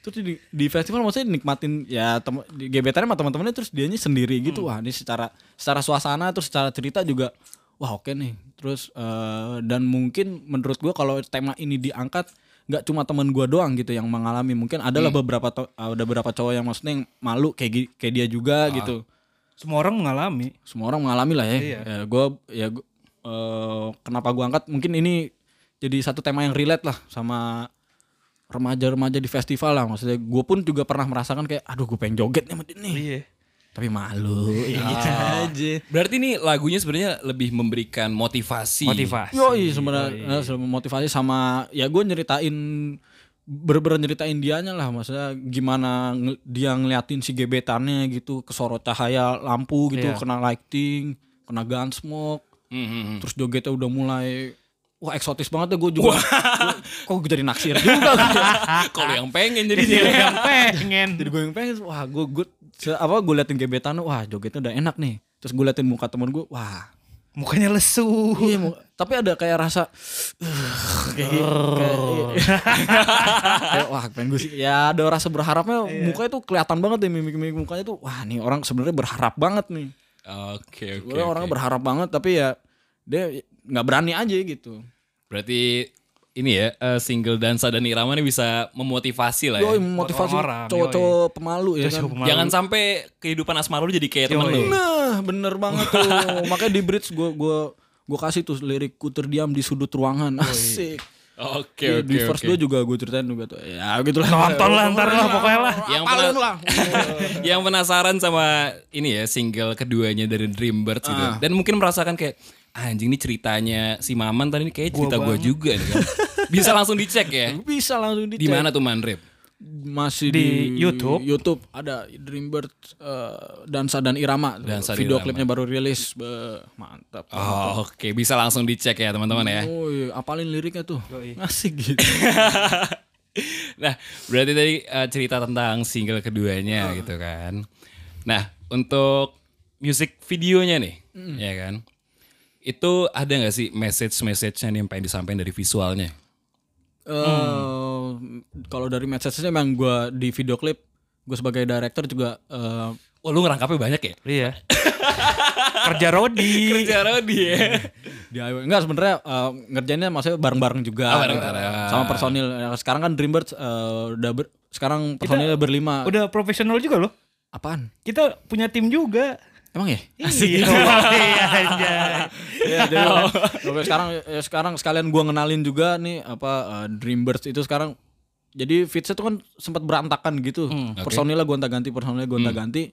B: terus di, di festival maksudnya nikmatin ya tem, di gebetannya sama teman-temannya terus dianya sendiri gitu wah ini secara secara suasana terus secara cerita juga wah oke nih terus eh, dan mungkin menurut gua kalau tema ini diangkat nggak cuma teman gua doang gitu yang mengalami mungkin adalah beberapa to- ada beberapa cowok yang maksudnya yang malu kayak gi- kayak dia juga gitu
C: semua orang mengalami
B: semua orang mengalami lah ya.
C: Iya.
B: Ya, gua ya gua- eh, kenapa gua angkat mungkin ini jadi satu tema yang relate lah sama remaja-remaja di festival lah maksudnya gue pun juga pernah merasakan kayak aduh gue pengen joget nih sama dia nih
C: iya
B: tapi malu ya gitu aja
A: Berarti ini lagunya sebenarnya lebih memberikan motivasi.
C: motivasi
B: Yoi sebenarnya eh, sebenarnya motivasi sama ya gue nyeritain bener-bener nyeritain dianya lah maksudnya gimana nge- dia ngeliatin si gebetannya gitu kesorot cahaya lampu gitu
C: Iya.
B: kena lighting kena gun smoke
A: Hmm, hmm, hmm.
B: terus jogetnya udah mulai wah eksotis banget ya gue juga Gua- kok gue jadi naksir juga ya? Ah,
A: Kalau yang pengen
C: Jadi
A: jadinya.
C: Iya, yang pengen.
B: jadi gue yang pengen wah gue gue se- apa gue liatin gebetan wah jogetnya udah enak nih terus gue liatin muka temen gue wah
C: Mukanya lesu.
B: iya mu- tapi ada kayak rasa kayak, kayak, kayak, wah pengen gue sih ya ada rasa berharapnya
A: Iya.
B: mukanya tuh kelihatan banget deh mimik-mimik mukanya tuh wah nih orang sebenarnya berharap banget nih
A: Oke oke.
B: Sebenarnya orang
A: oke.
B: berharap banget tapi ya dia nggak berani aja gitu
A: Berarti ini ya eh, single dansa dan irama ini bisa memotivasi lah ya.
B: Yoi motivasi
C: orang-orang,
B: cowok-cowok pemalu ya kan
C: Cowok-cowok
A: Jangan sampai kehidupan asmara lu jadi kayak temen
C: Yoi.
A: lu.
B: Nah, bener banget tuh. Makanya di bridge gue gua gua kasih tuh lirik ku terdiam di sudut ruangan. Asik.
A: Oke
B: di
A: oke
B: first
A: oke.
B: gue juga gue ceritain juga tuh. Ya gitu lah.
C: Nonton lah ntar lah pokoknya lah.
A: Yang
B: Apalin
A: pernah-
B: lah.
A: yang penasaran sama ini ya single keduanya dari Dreambirds gitu
B: Ah.
A: dan mungkin merasakan kayak "Ah, anjing ini ceritanya si Maman tadi ini kayak cerita gue juga nih kan bisa langsung dicek ya
B: Bisa langsung di
A: di mana tuh Manrip
B: masih
C: Di
B: di,
C: YouTube.
B: YouTube ada Dreambird eh, Dansa dan Irama.
A: Dansa dan
B: Video
A: Irama.
B: klipnya baru rilis. Be- mantap.
A: oh, oke bisa langsung dicek ya teman-teman ya
B: Oh, iya. apalin liriknya tuh. Asik gitu.
A: nah berarti tadi uh, cerita tentang single keduanya gitu kan nah untuk music videonya nih ya kan itu ada nggak sih message-message-nya nih yang pengen disampaikan dari visualnya
B: eh kalau dari message-nya emang gue di video klip gue sebagai director juga eh,
A: Wah lu ngerangkapnya banyak ya?
C: Iya. Kerja Rodi.
A: Kerja Rodi ya?
B: DIY. Enggak sebenarnya eh, ngerjainnya maksudnya bareng-bareng juga.
A: Ah, bareng-bareng.
B: Sama personil. Eh, Sekarang kan Dreambirds eh, udah ber- sekarang personilnya berlima.
C: Udah profesional juga loh.
B: Apaan?
C: Kita punya tim juga.
B: Emang ya?
C: Asik. Iya, anjay.
B: Iya, jadi oke, sekarang ya, sekarang sekalian gua ngenalin juga nih apa eh, Dreambirds itu sekarang jadi fitnya tuh kan sempat berantakan gitu. Personilnya gonta ganti, personilnya gonta ganti.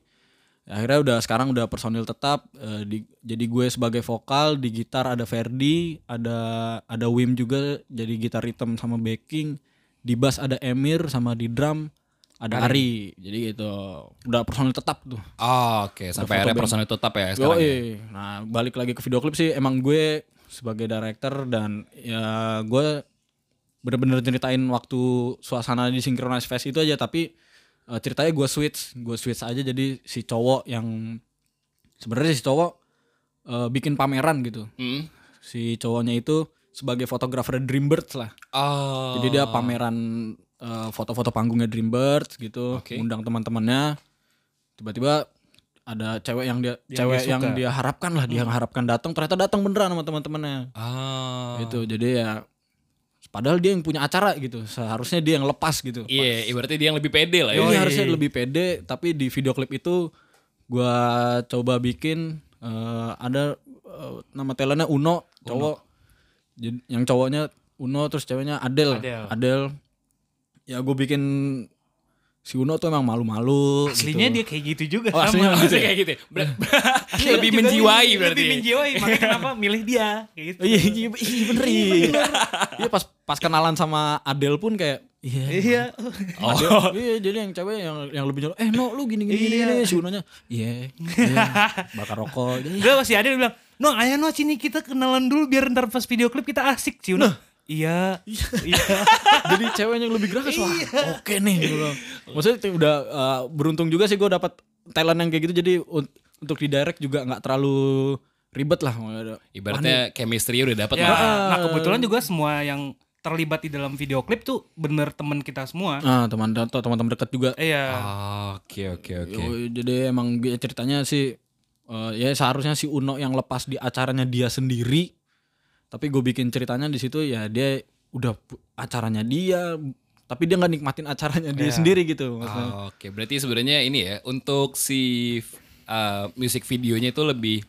B: Akhirnya udah sekarang udah personil tetap eh, di, jadi gue sebagai vokal di gitar ada Ferdi, ada ada Wim juga jadi gitar rhythm sama backing. Di bass ada Emir sama di drum ada Ari. Jadi gitu. Udah personil tetap tuh.
A: Oh, oke, sampai akhirnya personil tetap ya
B: Yo,
A: sekarang.
B: Nah, balik lagi ke video klip sih emang gue sebagai director dan ya gue bener-bener ceritain waktu suasana di Synchronize Fest itu aja tapi eh, ceritanya gue switch, gue switch aja jadi si cowok yang sebenarnya si cowok eh, bikin pameran gitu.
A: Hmm.
B: Si cowoknya itu sebagai fotografer Dreambirds lah.
A: Oh.
B: Jadi dia pameran eh, foto-foto panggungnya Dreambirds gitu,
A: Oke.
B: undang teman-temannya. Tiba-tiba ada cewek yang dia,
C: Yang
B: cewek
C: dia
B: yang
C: suka. Hmm.
B: dia harapkan lah, dia harapkan datang, ternyata datang beneran sama teman-temannya.
A: Ah.
B: Gitu. Jadi ya padahal dia yang punya acara gitu, seharusnya dia yang lepas gitu.
A: Iya, ibaratnya dia yang lebih pede
C: Iya,
A: lah ya.
B: Ini harusnya lebih pede, tapi di video klip itu gua coba bikin eh, ada eh, nama talentnya Uno, cowok. Jadi, yang cowoknya Uno terus ceweknya Adel.
C: Adele.
B: Ya gue bikin si Uno tuh emang malu-malu
C: Aslinya
B: gitu.
C: dia kayak gitu juga
B: Oh, aslinya
C: sama.
A: Maksudnya kayak gitu. ya? Ber- lebih menjiwai berarti. ya.
C: Lebih menjiwai, makanya kenapa milih dia kayak gitu.
B: Iya, iya, iya, bener. iya. Iya pas pas kenalan sama Adel pun kayak iya.
C: Iya.
B: Adele, iya jadi yang cewek yang yang lebih nyolong, eh no lu gini gini gini,
C: Iya.
B: gini." si Unonya, iya, iya, bakar rokok, iya,
C: Gue masih ada dia bilang, "No, ayo no sini kita kenalan dulu biar ntar pas video klip kita asik, Ciun." Iya. Iya.
B: jadi ceweknya yang lebih gratis wah
A: Iya.
B: oke nih gua bilang. maksudnya itu udah uh, beruntung juga sih gue dapat talent yang kayak gitu jadi un- untuk di direct juga nggak terlalu ribet lah
A: Ibaratnya chemistry udah dapat
C: Ya,
A: lah.
C: nah kebetulan juga semua yang terlibat di dalam video klip tuh bener temen kita semua.
B: nah teman teman-teman dekat juga
C: Iya.
A: Ah, Oke, oke, oke.
C: Ya
B: Yo, jadi emang gue ceritanya sih uh, ya seharusnya si Uno yang lepas di acaranya dia sendiri tapi gue bikin ceritanya di situ ya dia udah bu- acaranya dia tapi dia nggak nikmatin acaranya dia sendiri gitu maksudnya.
A: Iya. Ah, Oke, berarti sebenarnya ini ya untuk si uh, music videonya itu lebih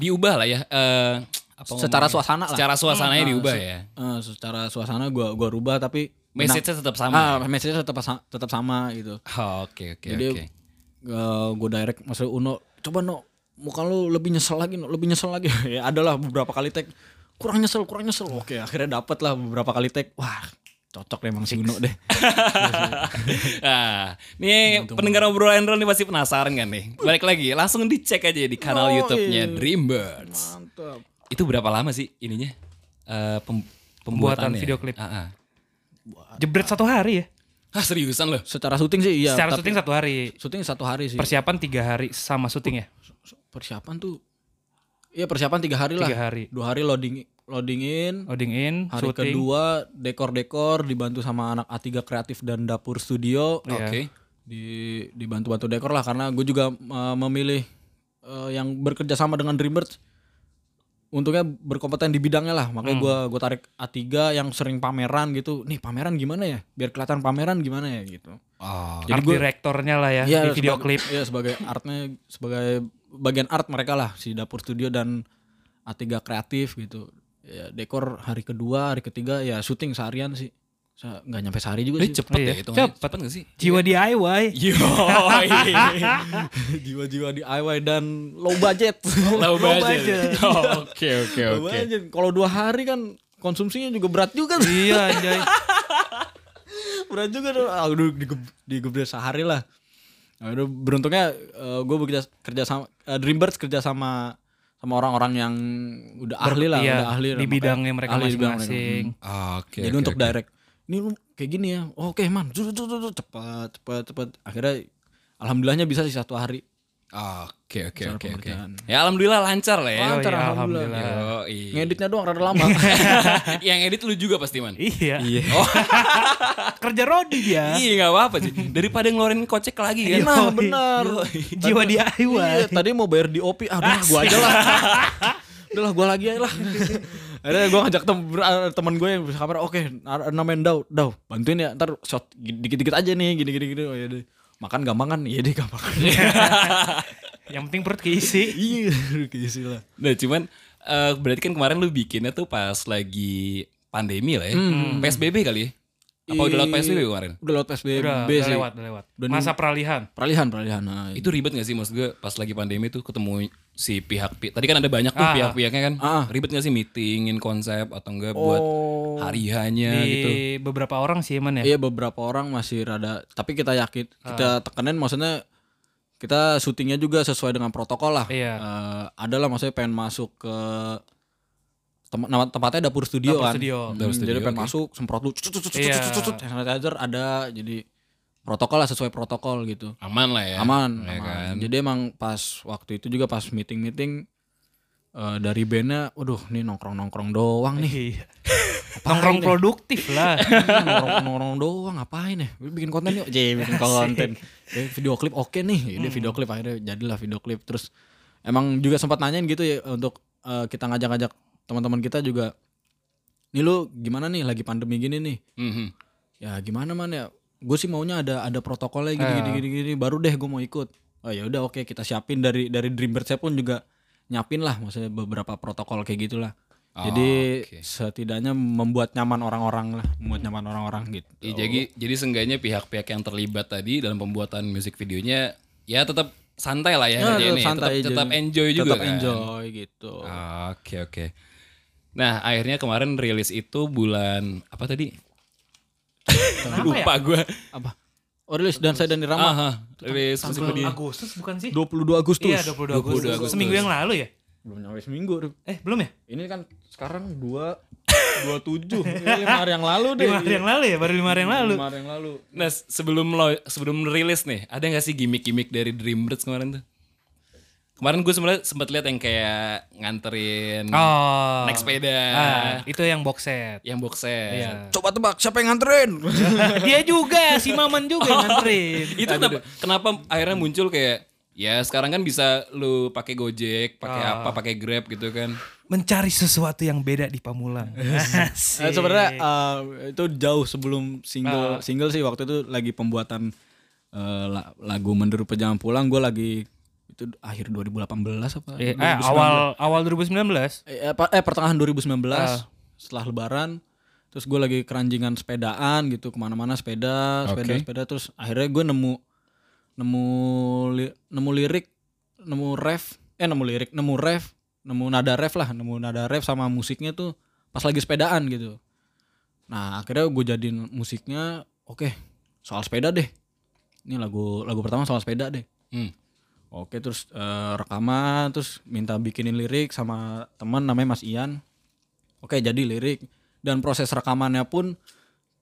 A: diubah lah ya. eh, apa ngomongnya?
B: Secara suasana lah.
A: Secara suasananya
C: Hmm,
A: diubah ya.
B: Eh, secara suasana gua gua rubah tapi
A: Message-nya tetap sama.
B: ah message tetap sa- tetap sama gitu.
A: Ah, Oke, oke,
B: Jadi
A: oke.
B: eh, gua direct maksud Uno coba no muka lu lebih nyesel lagi no, lebih nyesel lagi. ya adalah beberapa kali tag kurang nyesel kurang nyesel. Oke akhirnya dapat lah beberapa kali tag. Wah cocok deh emang si Uno deh.
C: Iya,
A: Nah, nih pendengar obrolan Enron nih pasti penasaran kan nih. Balik lagi, langsung dicek aja di
C: Oh,
A: kanal
C: iya.
A: YouTube-nya Dreambirds.
B: Mantap.
A: Itu berapa lama sih ininya? Eh, pem-
C: Pembuatan
A: pembuatannya?
C: video klip.
A: Ah, ah.
C: Jebret satu hari ya.
A: Hah, seriusan loh.
B: Secara syuting sih iya.
C: Secara
B: tapi Iya.
C: syuting satu hari.
B: syuting satu hari sih.
C: Persiapan tiga hari sama syuting ya.
B: persiapan tuh Iya persiapan tiga hari lah.
C: Tiga hari.
B: Dua hari loading loading in.
C: Loading in,
B: Hari
C: syuting.
B: kedua dekor-dekor dibantu sama anak A3 kreatif dan dapur studio.
C: Iya.
A: Oke.
B: di dibantu-bantu dekor lah karena gue juga uh, memilih uh, yang bekerja sama dengan Dreamers untungnya berkompeten di bidangnya lah makanya gua
C: Hmm.
B: gue tarik A3 yang sering pameran gitu nih pameran gimana ya biar kelihatan pameran gimana ya gitu
A: Oh.
C: Art direktornya lah ya, di video
B: sebagai-
C: klip.
B: iya, sebagai artnya sebagai bagian art mereka lah si dapur studio dan A3 kreatif gitu ya dekor hari kedua hari ketiga ya syuting seharian sih Sa- nggak nyampe sehari juga
A: Ini
B: sih
A: cepet
C: Iya.
A: ya itu.
C: Cepet.
A: Cepet gak sih?
B: Iya.
C: Jiwa DIY.
A: Yo,
B: jiwa-jiwa DIY dan low budget.
A: low
B: ya.
C: budget.
A: budget. Oh, Oke, oke,
B: Low
A: oke.
B: budget. Kalau dua hari kan konsumsinya juga berat juga. tuh.
C: iya anjay.
B: berat juga. tuh. Aduh, digeb- digebre sehari lah. Aduh, beruntungnya gue bekerja kerja sama eh, Dreambirds kerja sama sama orang-orang yang udah ahli lah,
C: iya,
B: udah ahli lah,
C: di
B: makanya
C: bidangnya mereka
B: ahli di bidang mereka. Hmm.
C: masing-masing.
A: Oke.
B: Jadi
A: oke,
B: untuk
A: oke.
B: direct. Ini lu kayak gini ya. Oh, Oke, man. Zut, zut, zut, zut. Cepat, cepat, cepat. Akhirnya alhamdulillahnya bisa sih satu hari.
A: Oke, oke,
B: Soal
A: oke, oke.
B: pekerjaan.
A: Ya alhamdulillah lancar lah ya.
C: Oh,
B: Lancar,
C: iya,
B: alhamdulillah.
C: alhamdulillah.
A: Yoi.
B: Ngeditnya doang rada lama.
A: Yang edit lu juga pasti man. Oh,
C: Iya.
B: Iya.
C: Kerja Rodi dia.
A: Iya nggak apa-apa sih. Daripada ngeluarin kocek lagi kan.
B: Nah,
C: Yoi.
B: benar.
C: Jiwa DIY.
B: Iya, tadi mau bayar di OP, ah udah lah, gua aja lah. udah lah, gua lagi aja lah. Akhirnya gua ngajak tem teman gue yang bisa kamera, oke, nar- namain Daw, Daw, bantuin ya, ntar shot dikit-dikit aja nih, gini-gini gini. Oh, iya deh. Makan gampang kan? Iya deh gampang.
C: Yang penting perut keisi.
B: Iya, keisi lah.
A: Nah cuman eh, berarti kan kemarin lu bikinnya tuh pas lagi pandemi lah ya. PSBB kali ya? Apa udah lewat
B: Ih.
A: PSBB kemarin?
B: Udah lewat PSBB
C: Udah, udah
B: sih.
C: lewat, udah lewat.
B: Udah
C: Masa peralihan.
B: Peralihan, peralihan. Nah,
A: Itu ribet gak sih maksud gue pas lagi pandemi tuh ketemu si pihak pi- tadi kan ada banyak tuh
C: Ah.
A: pihak-pihaknya kan
B: Ah.
A: ribet gak sih meetingin konsep atau enggak buat
B: Oh.
A: hari hanya
C: Di
A: gitu
C: beberapa orang sih Eman ya.
B: Iya beberapa orang masih rada, tapi kita yakin, kita
C: Ah.
B: tekenin maksudnya kita syutingnya juga sesuai dengan protokol lah.
C: Iya.
B: Eh, adalah maksudnya pengen masuk ke tem- nama tempatnya dapur studio
C: Dapur
B: kan.
C: studio.
B: Hmm,
A: Dapur studio,
B: jadi pengen
A: oke.
B: masuk semprot dulu, cut, cut, cut, cut,
C: Iya.
B: cut, cut, cut, hand sanitizer ada jadi protokol lah sesuai protokol gitu.
A: aman lah ya
B: Aman,
A: ya
B: aman.
A: kan?
B: Jadi emang pas waktu itu juga pas meeting-meeting eh, dari bandnya, waduh nih nongkrong-nongkrong doang nih.
C: Iya. Nongkrong produktif lah.
B: nongkrong nongkrong doang ngapain ya Gue bikin konten yuk Jee, bikin konten Eh, video klip oke nih ini video klip akhirnya jadilah video klip terus emang juga sempat nanyain gitu ya untuk eh, kita ngajak-ngajak teman-teman kita juga nih lu gimana nih lagi pandemi gini nih
A: Mhm.
B: ya gimana man ya gue sih maunya ada ada protokolnya gini gini gini gini baru deh gue mau ikut oh ya udah oke kita siapin dari dari Dreambird saya pun juga nyapin lah maksudnya beberapa protokol kayak gitulah jadi
A: oke.
B: setidaknya membuat nyaman orang-orang lah membuat nyaman orang-orang gitu
A: Ya, jadi jadi seenggaknya pihak-pihak yang terlibat tadi dalam pembuatan musik videonya ya tetap santai lah ya,
B: Ya,
A: kerjainnya
B: tetap
A: ya.
B: santai
A: tetap,
B: aja.
A: tetap enjoy juga
B: tetap
A: kan? Ah.
B: enjoy gitu
A: Oke oke. Nah akhirnya kemarin rilis itu bulan apa tadi? Lupa gue.
B: apa oh rilis dan saya dan Irama
A: Ah, rilis musik
C: Bulan
A: video.
C: Agustus bukan sih?
B: 22 Agustus
C: Iya, 22 Agustus.
A: 22 Agustus.
C: Seminggu yang lalu ya?
B: belum nyampe seminggu Rif.
C: Eh, belum ya?
B: ini kan sekarang dua dua tujuh lima hari yang lalu deh
C: Lima hari yang lalu ya? Baru lima hari yang lalu.
B: iya. Lima hari yang lalu
A: Nah sebelum lo, sebelum rilis nih ada nggak sih gimmick-gimmick dari Dreambirds kemarin tuh? Kemarin gue sebenarnya sempat lihat yang kayak nganterin
C: Oh.
A: naik sepeda,
C: Ah, Iya. itu yang box set.
A: yang box set.
B: Coba tebak siapa yang nganterin?
C: Dia juga, si Maman juga yang nganterin.
A: itu kenapa, kenapa akhirnya muncul kayak ya sekarang kan bisa lu pakai Gojek, pakai
C: Ah.
A: apa, pakai Grab gitu kan.
C: Mencari sesuatu yang beda di Pamulang.
B: Eh,
C: Asik.
B: sebenarnya eh, itu jauh sebelum single single sih waktu itu lagi pembuatan eh, la- lagu Menderu Pejam Pulang gue lagi itu akhir 2018 apa?
C: Eh, eh, awal awal 2019.
B: Eh, apa- eh, pertengahan 2019 setelah Lebaran terus gue lagi keranjingan sepedaan gitu kemana-mana sepeda sepeda sepeda terus akhirnya gue nemu nemu li- nemu lirik nemu ref eh nemu lirik nemu ref nemu nada ref lah nemu nada ref sama musiknya tuh pas lagi sepedaan gitu Nah akhirnya gue jadiin musiknya oke soal sepeda deh. Ini lagu lagu pertama soal sepeda deh.
A: Hmm.
B: Oke terus eh, rekaman terus minta bikinin lirik sama teman namanya Mas Ian. Oke jadi lirik dan proses rekamannya pun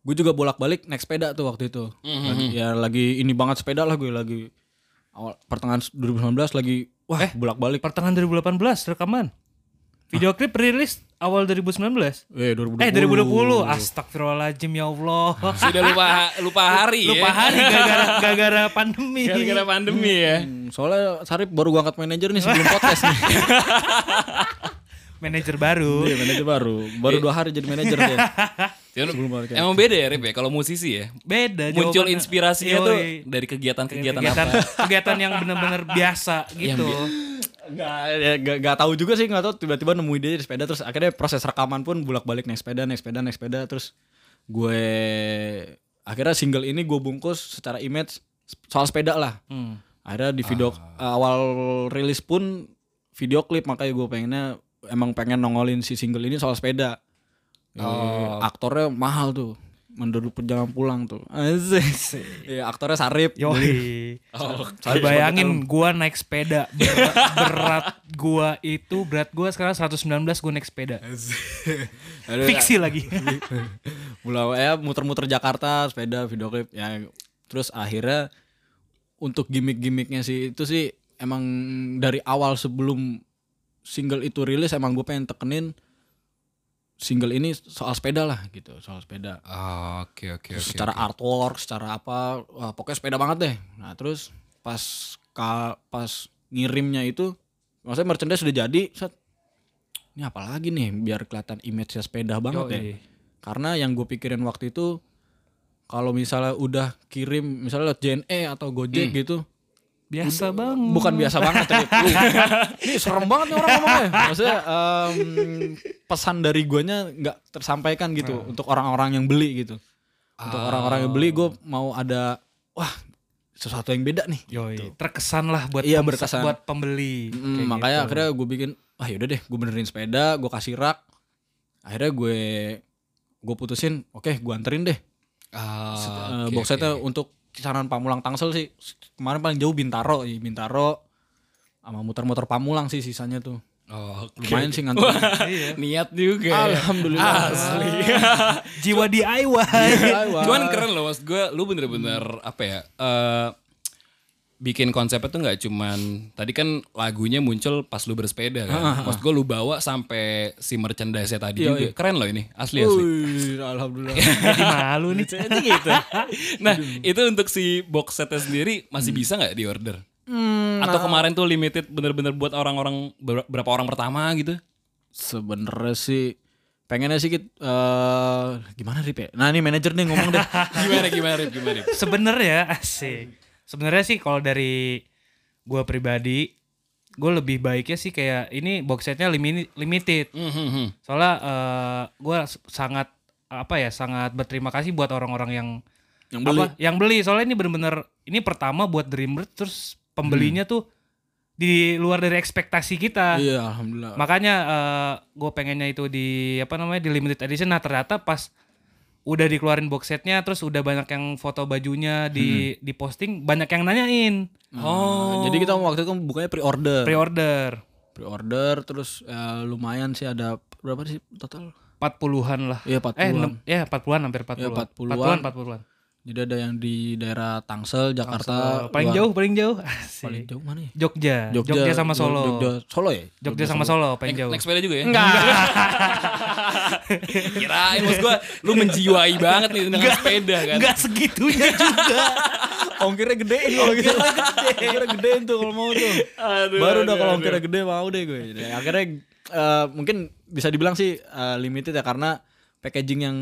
B: gue juga bolak-balik naik sepeda tuh waktu itu. Lagi- ya lagi ini banget sepeda lah gue lagi awal pertengahan 2019 lagi wah bolak-balik.
C: Pertengahan 2018 rekaman. Video klip rilis awal 2019.
B: Eh 2020.
C: Eh 2020. Astagfirullahaladzim ya Allah.
A: Sudah lupa lupa hari
C: Lupa
A: ya.
C: hari gara-gara gara-gara pandemi.
A: Gara-gara pandemi ya.
B: Hmm, Soalnya Sarip baru gua angkat manajer nih
A: Eh.
B: sebelum podcast nih.
C: Manajer baru.
B: Iya manajer baru, baru dua hari jadi manajer dia.
A: Cuman
B: Sebelum podcast.
A: emang beda ya Rip ya kalau musisi ya.
C: Beda
A: Muncul
C: jawabannya.
A: inspirasinya
C: Yoi.
A: tuh dari kegiatan-kegiatan
C: kegiatan
A: apa?
C: kegiatan yang benar-benar biasa gitu.
B: Gak, ya, gak, gak tahu juga sih, gak tahu tiba-tiba nemu ide di sepeda terus akhirnya proses rekaman pun bolak-balik naik sepeda, naik sepeda, naik sepeda terus gue akhirnya single ini gue bungkus secara image soal sepeda lah.
C: Hmm.
B: Akhirnya di video eh, awal rilis pun video klip makanya gue pengennya emang pengen nongolin si single ini soal sepeda. Eh, aktornya mahal tuh. Menduduk perjalanan pulang tuh. Asik. Iya, aktornya Sarip.
C: Yoi.
A: Oh,
C: Lu bayangin gua naik sepeda berat, berat gua itu berat gua sekarang 119 gua naik sepeda.
B: Aduh,
C: Fiksi lagi.
B: Pulau ya muter-muter Jakarta sepeda video klip ya terus akhirnya untuk gimmick-gimmicknya sih itu sih emang dari awal sebelum single itu rilis emang gue pengen tekenin single ini soal sepeda lah gitu soal sepeda
A: Ah, Oke oke
B: Terus
A: oke.
B: secara artwork secara apa wah, pokoknya sepeda banget deh nah terus pas ka- pas ngirimnya itu maksudnya merchandise sudah jadi set ini apa lagi nih biar kelihatan image sepeda banget ya
C: Yoi.
B: karena yang gue pikirin waktu itu kalau misalnya udah kirim misalnya lewat JNE atau Gojek
A: Hmm.
B: gitu
C: Biasa banget.
B: bukan biasa banget tapi lu, ini serem banget nih orang ngomongnya maksudnya em, pesan dari guanya nggak tersampaikan gitu untuk orang-orang yang beli gitu untuk orang-orang yang beli gue mau ada wah sesuatu yang beda nih
C: Yoi. Gitu. Terkesan lah buat
B: Iya,
C: pem-
B: berkesan.
C: buat pembeli.
B: Mm,
C: Kayak
B: makanya
C: gitu.
B: akhirnya gue bikin ah yaudah deh gue benerin sepeda gue kasih rak akhirnya gue gue putusin oke gue anterin deh
A: Ah,
B: Eh,
A: oke, oke.
B: box setnya untuk kisaran Pamulang Tangsel sih kemarin paling jauh Bintaro ya Bintaro sama muter-muter Pamulang sih sisanya tuh
A: Oh, oke.
B: lumayan sih ngantuk
C: Iya.
A: Niat juga. ya.
B: Alhamdulillah
A: Asli.
C: jiwa
B: Iya.
C: DIY.
A: Cuman keren loh maksud gue, lu bener-bener apa ya? eh, bikin konsepnya tuh nggak cuman tadi kan lagunya muncul pas lu bersepeda kan. Maksud gue lu bawa sampai si merchandise tadi juga. Keren loh ini, asli asli.
B: Wih, Alhamdulillah
C: Jadi malu nih. gitu.
A: Nah, itu untuk si box setnya sendiri masih bisa nggak di order?
C: Hmm,
A: Atau
C: nah.
A: kemarin tuh limited bener-bener buat orang-orang ber- berapa orang pertama gitu?
B: sebenernya sih pengennya sih kit- eh, gimana Rip ya nah ini manajer nih ngomong deh
A: Gimana gimana Rip, gimana Rip?
C: Sebenarnya asik. Sebenarnya sih kalau dari gua pribadi gue lebih baiknya sih kayak ini box setnya limi- limited.
B: Mm.
A: Hmm, hmm, hmm.
C: soalnya gue sangat apa ya sangat berterima kasih buat orang-orang yang
B: yang beli
C: apa yang beli soalnya ini bener-bener ini pertama buat Dreamer terus pembelinya tuh di luar dari ekspektasi kita
B: Hmm. iya Alhamdulillah
C: makanya gue pengennya itu di apa namanya di limited edition nah ternyata pas udah dikeluarin box setnya terus udah banyak yang foto bajunya di di posting banyak yang nanyain
B: oh jadi kita waktu itu bukanya pre-order
C: pre-order
B: pre-order terus eh, lumayan sih ada berapa sih total
C: 40-an lah
B: Iya, 40-an.
C: eh enam- ya 40-an hampir 40-an
B: 40-an.
C: 40-an 40-an
B: Jadi ada yang di daerah Tangsel, Jakarta,
C: Eh, paling
B: luar-
C: jauh paling jauh Asik.
B: paling jauh mana ya?
C: Jogja. Jogja sama Solo
B: Jogja, Solo ya?
C: Jogja sama Solo paling jauh
A: Naik sepeda juga ya? Enggak. Kirain maksud gue, lu menjiwai banget nih dengan sepeda kan?
C: Enggak segitunya juga
B: Ongkirnya gedein kalau gitu. Ongkirnya gedein tuh kalau mau tuh. Baru udah kalau ongkirnya gede mau deh gue. Jadi akhirnya eh, mungkin bisa dibilang sih eh, limited ya karena packaging yang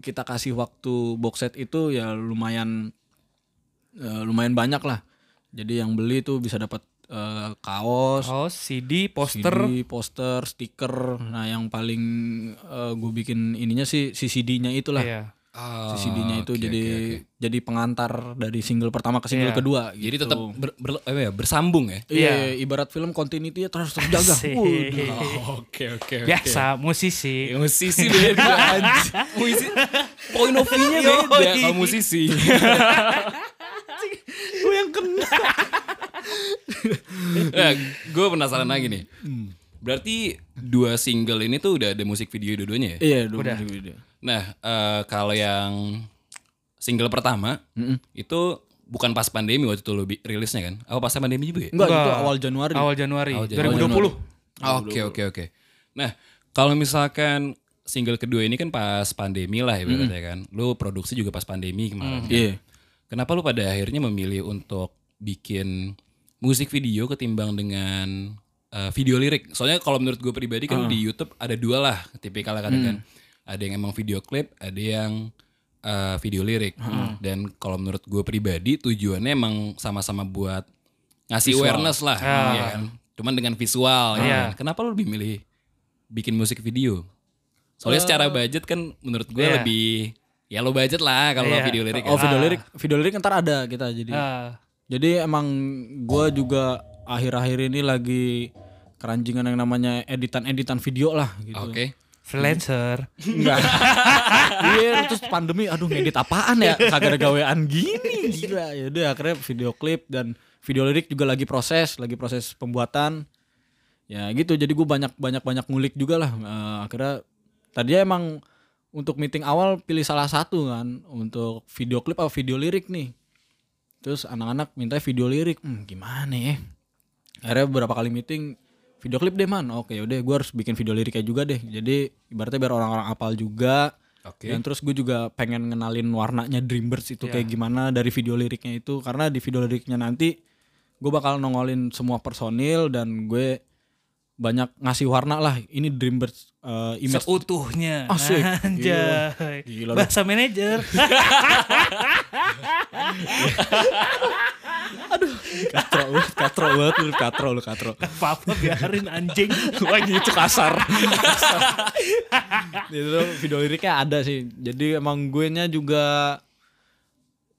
B: kita kasih waktu box set itu ya lumayan eh, lumayan banyak lah. Jadi yang beli tuh bisa dapat eh, kaos,
C: Oh CD poster
B: CD, poster, eh, stiker. Nah, yang paling gue bikin ininya sih CCD-nya itulah.
C: Iya
A: Ah,
B: si CD-nya itu
A: oke,
B: jadi
A: oke, oke.
B: jadi pengantar dari single pertama ke single
C: Iya.
B: kedua
A: jadi
B: gitu.
A: tetap ber- ber- apa ya, bersambung ya.
B: Iya,
C: Iya.
B: ibarat film continuity terus terjaga.
C: Asik.
B: Waduh.
A: Oke oke oke.
C: Biasa musisi.
A: Ya, musisi beda anjing. Musisi iya. point of view-nya beda
C: Yoi.
A: kalau musisi.
B: Gue yang kena.
A: nah, gue penasaran lagi nih. Berarti dua single ini tuh udah ada musik video dua-duanya ya?
B: Iya,
C: Udah.
B: udah.
A: Nah, eh, kalau yang single pertama
B: Mm-mm.
A: itu bukan pas pandemi waktu itu lo bi- rilisnya kan? Apa pas pandemi juga ya?
B: Enggak, itu
C: Enggak.
B: awal Januari.
C: Awal Januari
A: Awal Oh, Januari.
C: 2020.
A: Oke oke oke. Nah, kalau misalkan single kedua ini kan pas pandemi lah ibaratnya kan. Lo produksi juga pas pandemi kemarin. kan?
B: Iya.
A: Kenapa lu pada akhirnya memilih untuk bikin musik video ketimbang dengan eh, video lirik? Soalnya kalau menurut gue pribadi
C: Ah.
A: kan di YouTube ada dua lah tipikal kan
C: Hmm.
A: kan. Ada yang emang video klip, ada yang eh, video lirik.
C: Hmm.
A: Dan kalau menurut gue pribadi tujuannya emang sama-sama buat ngasih awareness lah, ya kan? Cuman dengan visual. ya
C: Ah. Iya.
A: kan? Kenapa lu lebih milih bikin musik video? Soalnya secara budget kan menurut gue
C: Eh. Iya.
A: lebih ya lo budget lah kalau
C: Iya.
A: video lirik. ya.
B: Oh, video lirik, video lirik ntar ada kita jadi.
C: Ah,
B: Jadi emang gua juga akhir-akhir ini lagi keranjingan yang namanya editan-editan video lah gitu.
A: Oke.
C: freelancer.
B: Enggak. Iya, terus pandemi aduh ngedit apaan ya? Kagak ada gawean gini. Gila. Ya udah akhirnya video klip dan video lirik juga lagi proses, lagi proses pembuatan. Ya gitu. Jadi gue banyak banyak banyak ngulik juga lah. Eh, akhirnya tadinya emang untuk meeting awal pilih salah satu kan untuk video klip atau video lirik nih. Terus anak-anak minta video lirik. Hmm, gimana ya? Akhirnya beberapa kali meeting video klip deh man. Oke, ya udah gue harus bikin video liriknya juga deh. Jadi ibaratnya biar orang-orang apal juga.
A: Oke.
B: Dan terus gue juga pengen ngenalin warnanya Dreambirds itu kayak
A: Iya.
B: gimana dari video liriknya itu karena di video liriknya nanti gue bakal nongolin semua personil dan gue banyak ngasih warna lah. Ini Dreambirds eh, image
C: Seutuhnya.
B: Asik.
C: Anjay.
A: Iya.
B: Gila lu.
C: Bahasa manajer.
B: katro, lu, katro banget lu, katro lu, katro.
C: Apa-apa biarin anjing.
B: lagi itu kasar. itu video liriknya ada sih. Jadi emang gue nya juga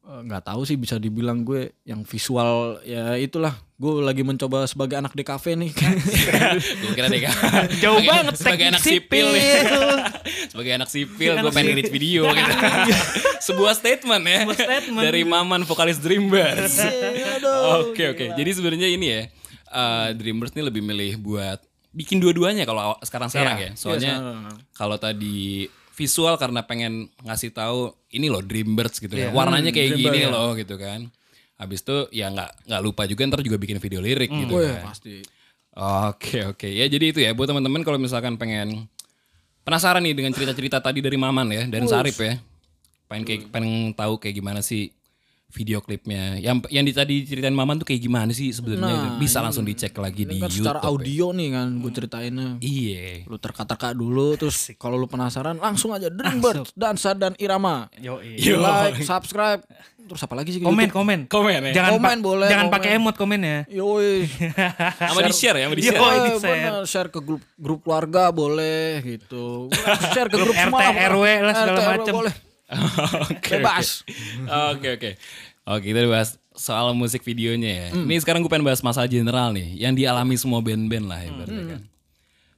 B: eh, nggak tahu sih bisa dibilang gue yang visual ya itulah gue lagi mencoba sebagai anak DKV nih Kan
A: Gue kira deh Kak.
C: Jauh
A: Sebagai-
C: banget
A: sebagai
C: teknik
A: anak sipil. nih.
C: sipil. ya.
A: sebagai anak sipil
C: Anak
A: gue pengen
C: sipil.
A: edit video gitu. Sebuah statement ya.
C: Sebuah statement. Iya,
A: Dari Maman vokalis Dreambirds. Oke oke. Jadi sebenarnya ini ya. eh, Dreambirds ini lebih milih buat bikin dua-duanya kalau aw- sekarang-sekarang
C: Iya.
A: ya. Soalnya kalau tadi visual karena pengen ngasih tahu ini loh Dreambirds gitu kan.
C: Iya.
A: Warnanya
C: Hmm,
A: kayak gini loh gitu kan. Habis itu ya nggak nggak lupa juga ntar juga bikin video lirik
C: Hmm.
A: gitu
C: Oh, iya.
A: kan.
B: pasti
A: Oke oke ya jadi itu ya buat teman-teman kalau misalkan pengen penasaran nih dengan cerita-cerita tadi dari Maman ya dan Sarip ya pengen kayak pengen tahu kayak gimana sih video klipnya yang yang di, tadi ceritain Maman tuh kayak gimana sih sebenarnya bisa langsung dicek lagi di
B: kan
A: YouTube
B: Nah, secara audio nih kan gue ceritainnya
A: iya
B: lu terkata-kata dulu terus kalau lu penasaran langsung aja Dreambirds dansa dan irama
C: Yoi.
A: Iya.
B: like subscribe terus apa lagi sih gitu? ke
C: Komen,
B: YouTube?
C: komen.
A: komen ya
C: Jangan
B: Komen
C: pa-
B: boleh,
C: Jangan
B: komen.
C: pakai emot komennya.
B: yoi
A: sama di share ya sama di share
C: Yo. Oh, ini
B: Eh,
C: share.
B: bener, share ke grup grup keluarga boleh gitu. Share ke grup,
C: Grup
B: semua
C: RT, RW lah, segala
B: RW
C: macem.
B: boleh.
A: oke
B: Bebas.
A: oke oke oke kita udah bahas soal musik videonya ya ini sekarang gue pengen bahas masalah general nih yang dialami semua band-band lah ya berarti kan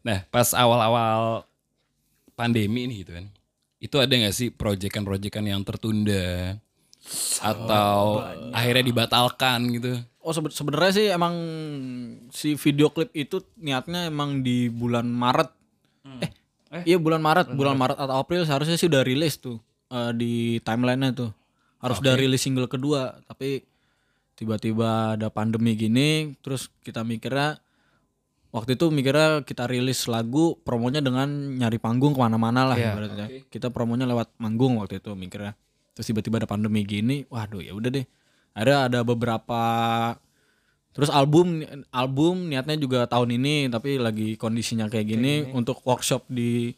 A: nah pas awal-awal pandemi ini gitu kan itu ada nggak sih proyekan-proyekan yang tertunda atau akhirnya dibatalkan gitu
B: Oh sebe- sebenarnya sih emang si video klip itu niatnya emang di bulan Maret. Eh, iya bulan Maret, bulan Maret atau April seharusnya sih udah rilis tuh eh, di timelinenya tuh. Harus udah rilis single kedua, tapi tiba-tiba ada pandemi gini, terus kita mikirnya waktu itu mikirnya kita rilis lagu promonya dengan nyari panggung kemana-mana lah ibaratnya. Kita promonya lewat manggung waktu itu mikirnya. Terus tiba-tiba ada pandemi gini, waduh ya udah deh. Ada ada beberapa terus album album niatnya juga tahun ini tapi lagi kondisinya kayak gini untuk workshop di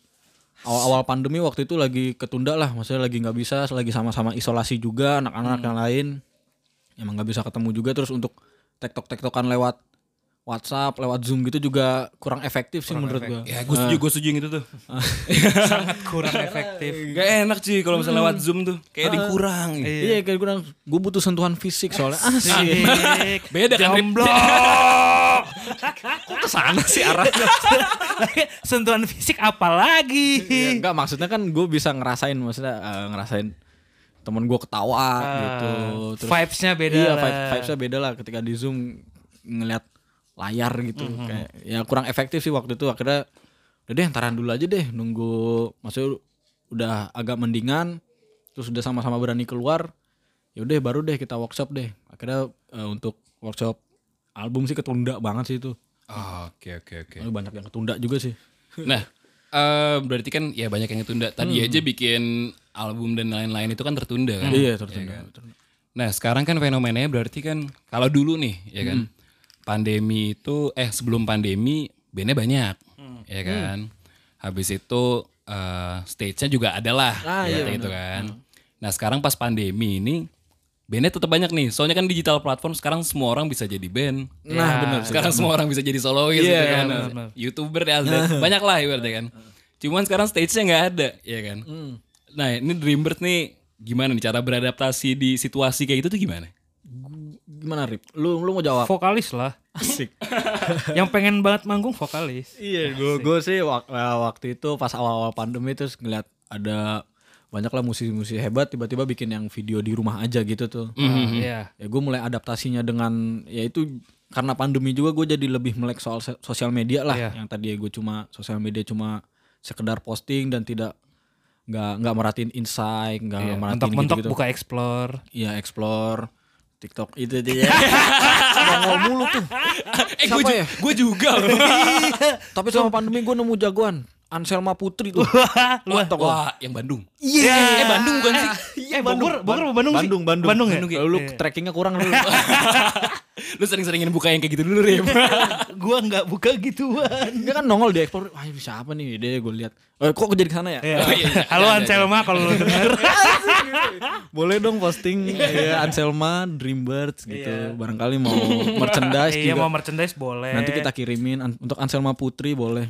B: awal-awal pandemi waktu itu lagi ketunda lah maksudnya lagi nggak bisa lagi sama-sama isolasi juga anak-anak yang lain emang nggak bisa ketemu juga terus untuk tektok tektokan lewat WhatsApp, lewat Zoom gitu juga kurang efektif sih menurut gua.
A: Ya gue setuju, gue setuju yang itu tuh.
C: sangat kurang
A: Iya.
C: efektif.
A: Gak enak sih kalau misalnya lewat Zoom tuh. Kayak dikurang.
B: Iya, kayak kurang gue butuh sentuhan fisik soalnya. Asik.
C: Asik.
A: Iya. Beda kan, Rip?
C: Jomblo.
A: Kok kesana sih arahnya?
C: Sentuhan fisik apa lagi?
B: Iya, enggak maksudnya kan gue bisa ngerasain maksudnya eh, ngerasain temen gue ketawa gitu. Terus
C: Vibes-nya beda
B: iya,
C: lah.
B: vibe- vibes-nya beda lah ketika di Zoom ngelihat layar gitu
C: Mhm.
B: kayak ya kurang efektif sih waktu itu akhirnya udah deh ntaran dulu aja deh nunggu maksudnya udah agak mendingan terus udah sama-sama berani keluar ya udah baru deh kita workshop deh akhirnya eh, untuk workshop album sih ketunda banget sih itu
A: Oke, oke, oke.
B: Lalu banyak yang ketunda juga sih
A: Nah, eh, berarti kan ya banyak yang ketunda. Tadi aja bikin album dan lain-lain itu kan tertunda
C: Hmm.
A: kan.
B: iya tertunda, tertunda.
A: Nah, sekarang kan fenomenanya berarti kan kalau dulu nih, ya kan. Pandemi itu eh sebelum pandemi bandnya banyak, ya kan. Habis itu eh, stage-nya juga ada lah, ya gitu kan. Nah, sekarang pas pandemi ini bandnya tetap banyak nih. Soalnya kan digital platform sekarang semua orang bisa jadi band.
B: nah benar
A: Sekarang semua orang bisa jadi solois gitu kan. Youtuber ya, ada. banyak lah ibaratnya kan. Cuman sekarang stage-nya nggak ada, ya kan.
B: Hmm.
A: Nah, ini Dreambird nih gimana nih cara beradaptasi di situasi kayak gitu tuh gimana?
B: gimana Rip? Lu lu mau jawab?
C: Vokalis lah.
B: Asik.
C: Yang pengen banget manggung vokalis.
B: iya, gue sih wak- eh, waktu itu pas awal-awal pandemi terus ngeliat ada banyak lah musisi-musisi hebat tiba-tiba bikin yang video di rumah aja gitu tuh.
C: Iya.
B: Ya gue mulai adaptasinya dengan ya itu karena pandemi juga gue jadi lebih melek soal se- sosial media lah.
C: Iya.
B: Yang tadi gue cuma sosial media cuma sekedar posting dan tidak nggak nggak merhatiin insight, nggak merhatiin
C: Iya, Mentok-mentok
B: Eh, gitu-gitu.
C: buka explore.
B: Iya, explore TikTok itu dia. Nongol mulu tuh.
A: eh, gue
B: Siapa
A: ju-
B: ya?
A: gue juga loh.
B: Tapi selama pandemi gue nemu jagoan Anselma Putri tuh.
A: Wah, wah, yang Bandung.
C: Ya,
B: Iya.
A: Eh, Bandung bukan sih?
C: Eh, Bogor, Bogor apa Bandung sih?
B: Bandung, Bandung. Iya.
C: Bandung ya?
B: Lu trackingnya kurang dulu.
A: Lu sering-seringin buka yang kayak gitu dulu, Rim.
C: gua nggak buka gituan.
B: Dia kan nongol di explore. Wah, ini siapa nih? Dia gue lihat. Eh, kok jadi ke sana ya?
A: Oh, iya, iya.
C: Halo
A: Ada, ada,
C: Anselma kalau lu denger.
B: Boleh dong posting ya, Anselma Dreambirds gitu. Barangkali mau merchandise
C: Iya
B: juga.
C: mau merchandise boleh.
B: Nanti kita kirimin an- untuk Anselma Putri boleh.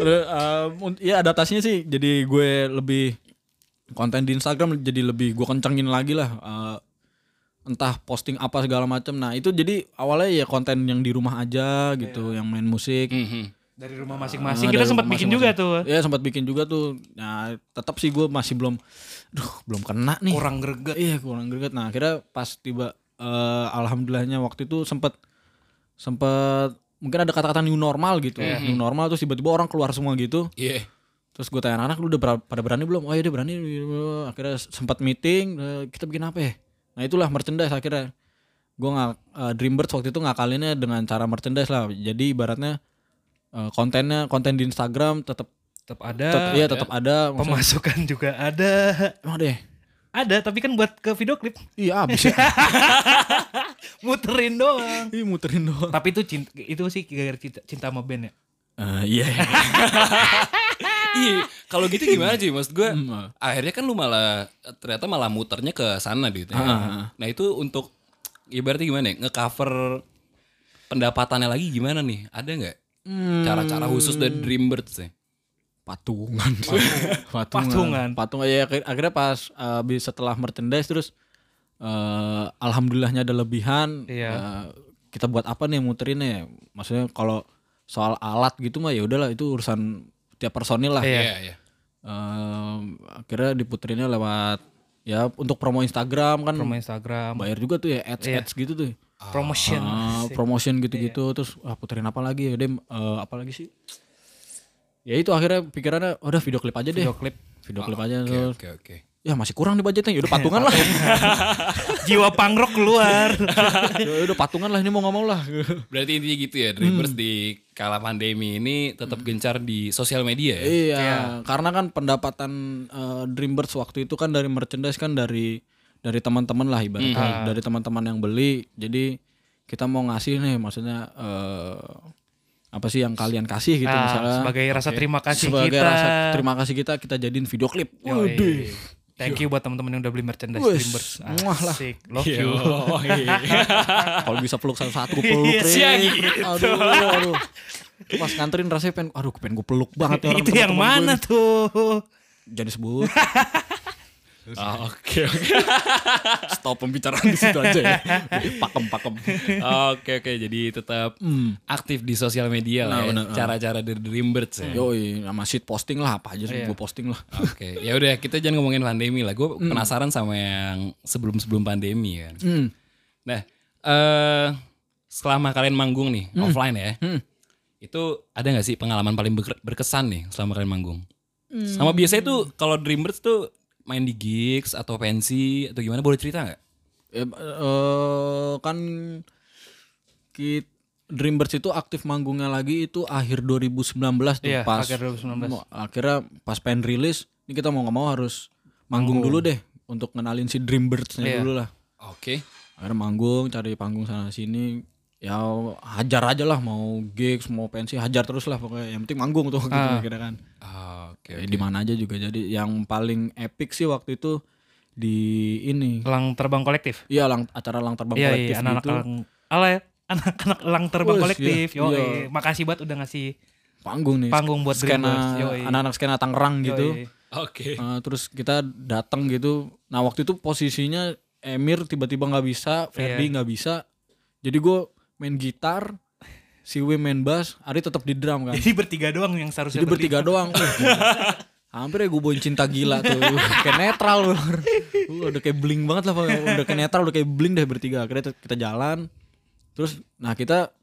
B: Terus, um, un- ya adaptasinya sih jadi gue lebih konten di Instagram jadi lebih gue kencengin lagi lah eh, entah posting apa segala macam nah itu jadi awalnya ya konten yang di rumah aja gitu yang main musik
A: Mhm.
C: dari rumah
B: Ah,
C: masing-masing kita
B: dari
C: sempat
B: rumah
C: bikin juga
B: masing-masing.
C: tuh.
B: ya sempat bikin juga tuh nah tetap sih gue masih belum duh belum kena nih
C: Kurang greget.
B: Iya kurang greget. Nah akhirnya pas tiba eh, alhamdulillahnya waktu itu sempet sempet mungkin ada kata-kata new normal gitu.
C: Iya.
B: New normal terus tiba-tiba orang keluar semua gitu.
A: Iya.
B: Terus gue tanya anak lu udah bera- pada berani belum? Oh iya udah berani. Akhirnya sempat meeting. eh, kita bikin apa ya? Nah itulah merchandise akhirnya. Gue nggak Dreambirds waktu itu ngakalinnya dengan cara merchandise lah. Jadi ibaratnya eh, kontennya konten di Instagram tetap
C: Tetap ada.
B: tetap iya tetap ada. Maksudnya-
C: Pemasukan juga ada.
B: Emang deh.
C: Ada tapi kan buat ke video klip
B: Iya abis ya.
C: muterin doang.
B: Ih, muterin doang.
C: tapi itu cinta, itu sih gara-gara cinta, cinta sama band ya.
B: Eh, Iya.
A: Iya, kalau gitu gimana sih maksud gue?
B: Hmm.
A: Akhirnya kan lu malah ternyata malah muternya ke sana gitu.
B: Ah,
A: ya. Nah, itu untuk ibaratnya gimana ya? Ngecover pendapatannya lagi gimana nih? Ada nggak
B: Hmm.
A: cara-cara khusus dari Dreambirds sih?
B: patungan
C: Patungan.
B: patungan ya akhir- akhirnya pas habis setelah merchandise terus eh, alhamdulillahnya ada lebihan
C: Iya.
B: Eh, kita buat apa nih muterinnya ya? maksudnya kalau soal alat gitu mah ya udahlah itu urusan tiap personil lah
A: Iya, iya.
B: Eh, akhirnya diputerinnya lewat ya untuk promo Instagram kan
C: Promo Instagram, Iya.
B: bayar juga tuh ya ads ads gitu tuh
C: promotion.
B: Ah, promotion gitu-gitu terus ah, puterin apa lagi ya deh apa lagi sih ya itu akhirnya pikirannya udah video klip aja deh video klip video klip aja
A: Oke,
B: terus
A: oke, oke.
B: ya masih kurang di budgetnya ya udah patungan lah
C: Jiwa pangrok keluar.
B: ya udah patungan lah ini mau nggak mau lah
A: Berarti intinya gitu ya, Dreambirds di kala pandemi ini tetap gencar di sosial media ya?
B: iya karena kan pendapatan eh, Dreambirds waktu itu kan dari merchandise kan dari dari teman-teman lah
C: Hmm. Iya.
B: ibaratnya dari teman-teman yang beli jadi kita mau ngasih nih maksudnya eh, apa sih yang kalian kasih gitu
C: Ah,
B: misalnya
C: sebagai rasa terima kasih
B: sebagai
C: kita.
B: rasa terima kasih kita kita jadiin video klip.
C: Yoi.
B: Waduh.
C: Iya. Thank you buat teman-teman yang udah beli merchandise
B: Wes,
C: Dreambirds.
B: muah lah.
C: Asik. Love
A: Yo,
C: you.
A: iya.
B: Kalau bisa peluk satu-satu gue peluk.
C: Iya,
B: Rik.
A: sih, gitu.
B: Aduh, aduh. Pas nganterin rasanya pengen, aduh pengen gue peluk banget ya orang
C: Itu yang
B: teman-teman
C: mana
B: gue.
C: tuh?
B: Jangan disebut.
A: Ah, Oke oke.
B: Stop pembicaraan di situ aja ya. Pakem pakem.
A: Ah, Oke oke jadi tetap aktif di sosial media lah ya.
B: Benar, benar.
A: Cara-cara dari Dreambirds ya.
B: Yoi, sama shit posting lah apa aja sih
C: Iya.
B: gue posting lah.
A: Oke, ya udah kita jangan ngomongin pandemi lah. Gue penasaran sama yang sebelum-sebelum pandemi kan.
B: Hmm.
A: Nah, eh selama kalian manggung nih offline ya,
B: Hmm.
A: itu ada nggak sih pengalaman paling berke- berkesan nih selama kalian manggung? Sama biasanya tuh kalau Dreambirds tuh main di gigs atau pensi atau gimana boleh cerita nggak?
B: Eh, eh, kan kit Dreambirds itu aktif manggungnya lagi itu akhir 2019 tuh
C: Iya,
B: pas
C: akhir 2019.
B: mau- akhirnya pas pengen rilis ini kita mau nggak mau harus manggung dulu deh untuk ngenalin si Dreambirdsnya
C: Iya.
B: dulu lah
A: Oke.
B: akhirnya manggung cari panggung sana sini ya hajar aja lah mau gigs mau pensi hajar terus lah pokoknya yang penting manggung tuh
C: Ah.
B: gitu kira kan
A: Oke.
B: Ya, di mana aja juga jadi yang paling epic sih waktu itu di ini
C: Elang terbang kolektif.
B: Iya, lang, acara lang terbang
C: Iya,
B: kolektif
C: iya, anak-anak
B: gitu.
C: elang. Alay, anak-anak elang terbang
B: Wes,
C: kolektif.
B: iya,
C: Yo,
B: iya.
C: makasih banget udah ngasih
B: panggung nih.
C: Panggung buat Dreamers,
B: skena
C: yoi.
B: anak-anak skena Tangerang gitu.
C: Yoi.
A: Oke.
B: Eh, terus kita datang gitu. Nah, waktu itu posisinya Emir tiba-tiba nggak bisa,
C: Iya.
B: Ferdi nggak bisa. Jadi gue main gitar, si Wim main bass, Ari tetap di drum kan.
C: Jadi bertiga doang yang seharusnya
B: Jadi bertiga doang. Hampir ya gue bawain cinta gila tuh. kayak netral lu. Lu udah kayak bling banget lah. pokoknya. Udah kayak netral, udah kayak bling deh bertiga. Akhirnya kita jalan. Terus, nah kita...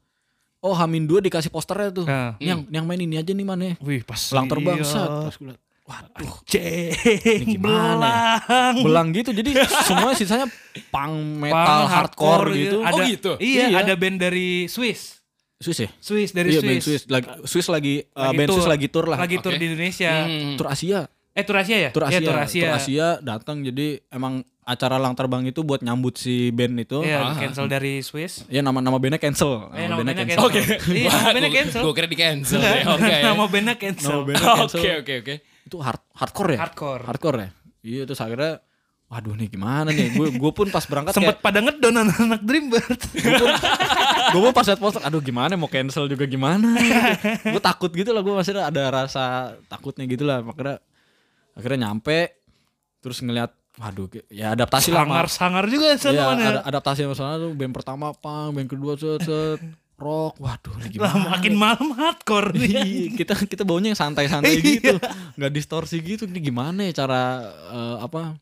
B: Oh, Hamin 2 dikasih posternya tuh.
C: Nah.
B: Ini Yang, ini yang main ini aja nih mana ya.
C: Wih, pas.
B: Belang terbang,
C: iya.
B: set. Terus gua liat, Waduh,
C: Ceng,
B: gimana ya?
C: belang.
B: belang gitu. Jadi semua sisanya punk metal,
C: Punk,
B: hardcore, gitu.
C: Ada,
A: Oh, gitu?
C: Iya,
B: Iya.
C: ada band dari Swiss.
B: Swiss ya?
C: Swiss dari
B: iya, band Swiss.
C: Swiss.
B: Lagi, Swiss lagi, eh, band Swiss lagi tour lah.
C: Lagi tour
A: Oke.
C: di Indonesia.
A: Hmm.
B: Tour Asia.
C: Eh, tour Asia ya?
B: Tur Asia,
C: Iya, tour Asia.
B: Tur Asia datang jadi emang acara lang terbang itu buat nyambut si band itu. Iya,
C: Iya, di cancel dari Swiss.
B: nama nama bandnya cancel.
C: Eh, nama bandnya cancel.
A: Oke.
C: Iya, nama bandnya cancel.
A: Gue kira di cancel. ya. Oke.
C: Nama bandnya cancel.
B: Nama bandnya cancel.
A: Oke oke oke.
B: Itu hard, hardcore ya?
C: Hardcore.
B: Hardcore ya? Iya, terus akhirnya waduh nih gimana nih? Gue gue pun pas berangkat
C: Sempet pada ngedown anak-anak Dreambird.
B: gue pun pas liat poster, aduh gimana mau cancel juga gimana. gue takut gitu lah, gue masih ada rasa takutnya gitu lah. Akhirnya, akhirnya nyampe, terus ngeliat, waduh ya adaptasi lah. sama-
C: Sangar-sangar juga
B: Iya,
C: sama
B: ada adaptasi sama sana tuh band pertama pang, band kedua set, set rock. Waduh, ini
C: Lah
B: gimana?
C: makin malam hardcore nih.
B: Iya, kita kita baunya yang
C: Iya.
B: santai-santai gitu, nggak distorsi gitu. Ini gimana ya cara eh, apa?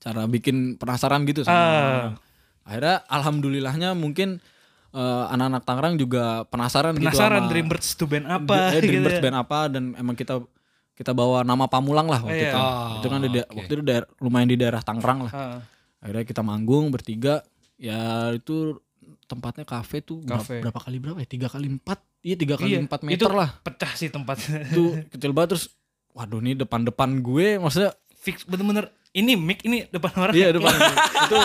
B: Cara bikin penasaran gitu sama
C: Ah.
B: orang-orang. Akhirnya alhamdulillahnya mungkin eh, anak-anak Tangerang juga penasaran, gitu
C: Penasaran
B: sama-
C: Dreambirds itu band apa
B: Eh,
C: gitu
B: Dreamers
C: ya.
B: band apa dan emang kita kita bawa nama Pamulang lah waktu
C: Iya.
B: itu. itu kan di da- waktu itu daer- lumayan di daerah Tangerang lah.
C: Ah,
B: Akhirnya kita manggung bertiga, ya itu tempatnya kafe tuh berapa-
C: Kafe.
B: Berapa, kali berapa ya? Tiga kali empat, iya tiga kali
C: Iya,
B: empat
C: itu
B: meter lah.
C: Pecah sih tempat.
B: Itu kecil banget terus, waduh nih depan-depan gue, maksudnya
C: Fix bener-bener ini mic ini depan orang.
B: iya depan gue. itu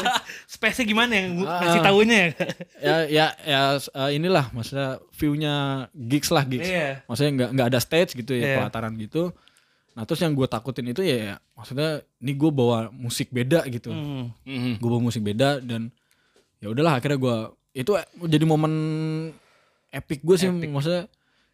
C: Space-nya gimana yang gua
B: Ah.
C: ngasih taunya ya?
B: ya ya ya eh, inilah maksudnya view-nya gigs lah gigs.
C: Iya.
B: Maksudnya nggak nggak ada stage gitu ya
C: Iya.
B: pelataran gitu. Nah terus yang gue takutin itu ya, ya maksudnya ini gue bawa musik beda gitu.
C: Hmm.
A: Mhm.
B: gue bawa musik beda dan ya udahlah akhirnya gue itu eh, jadi momen epic gue sih maksudnya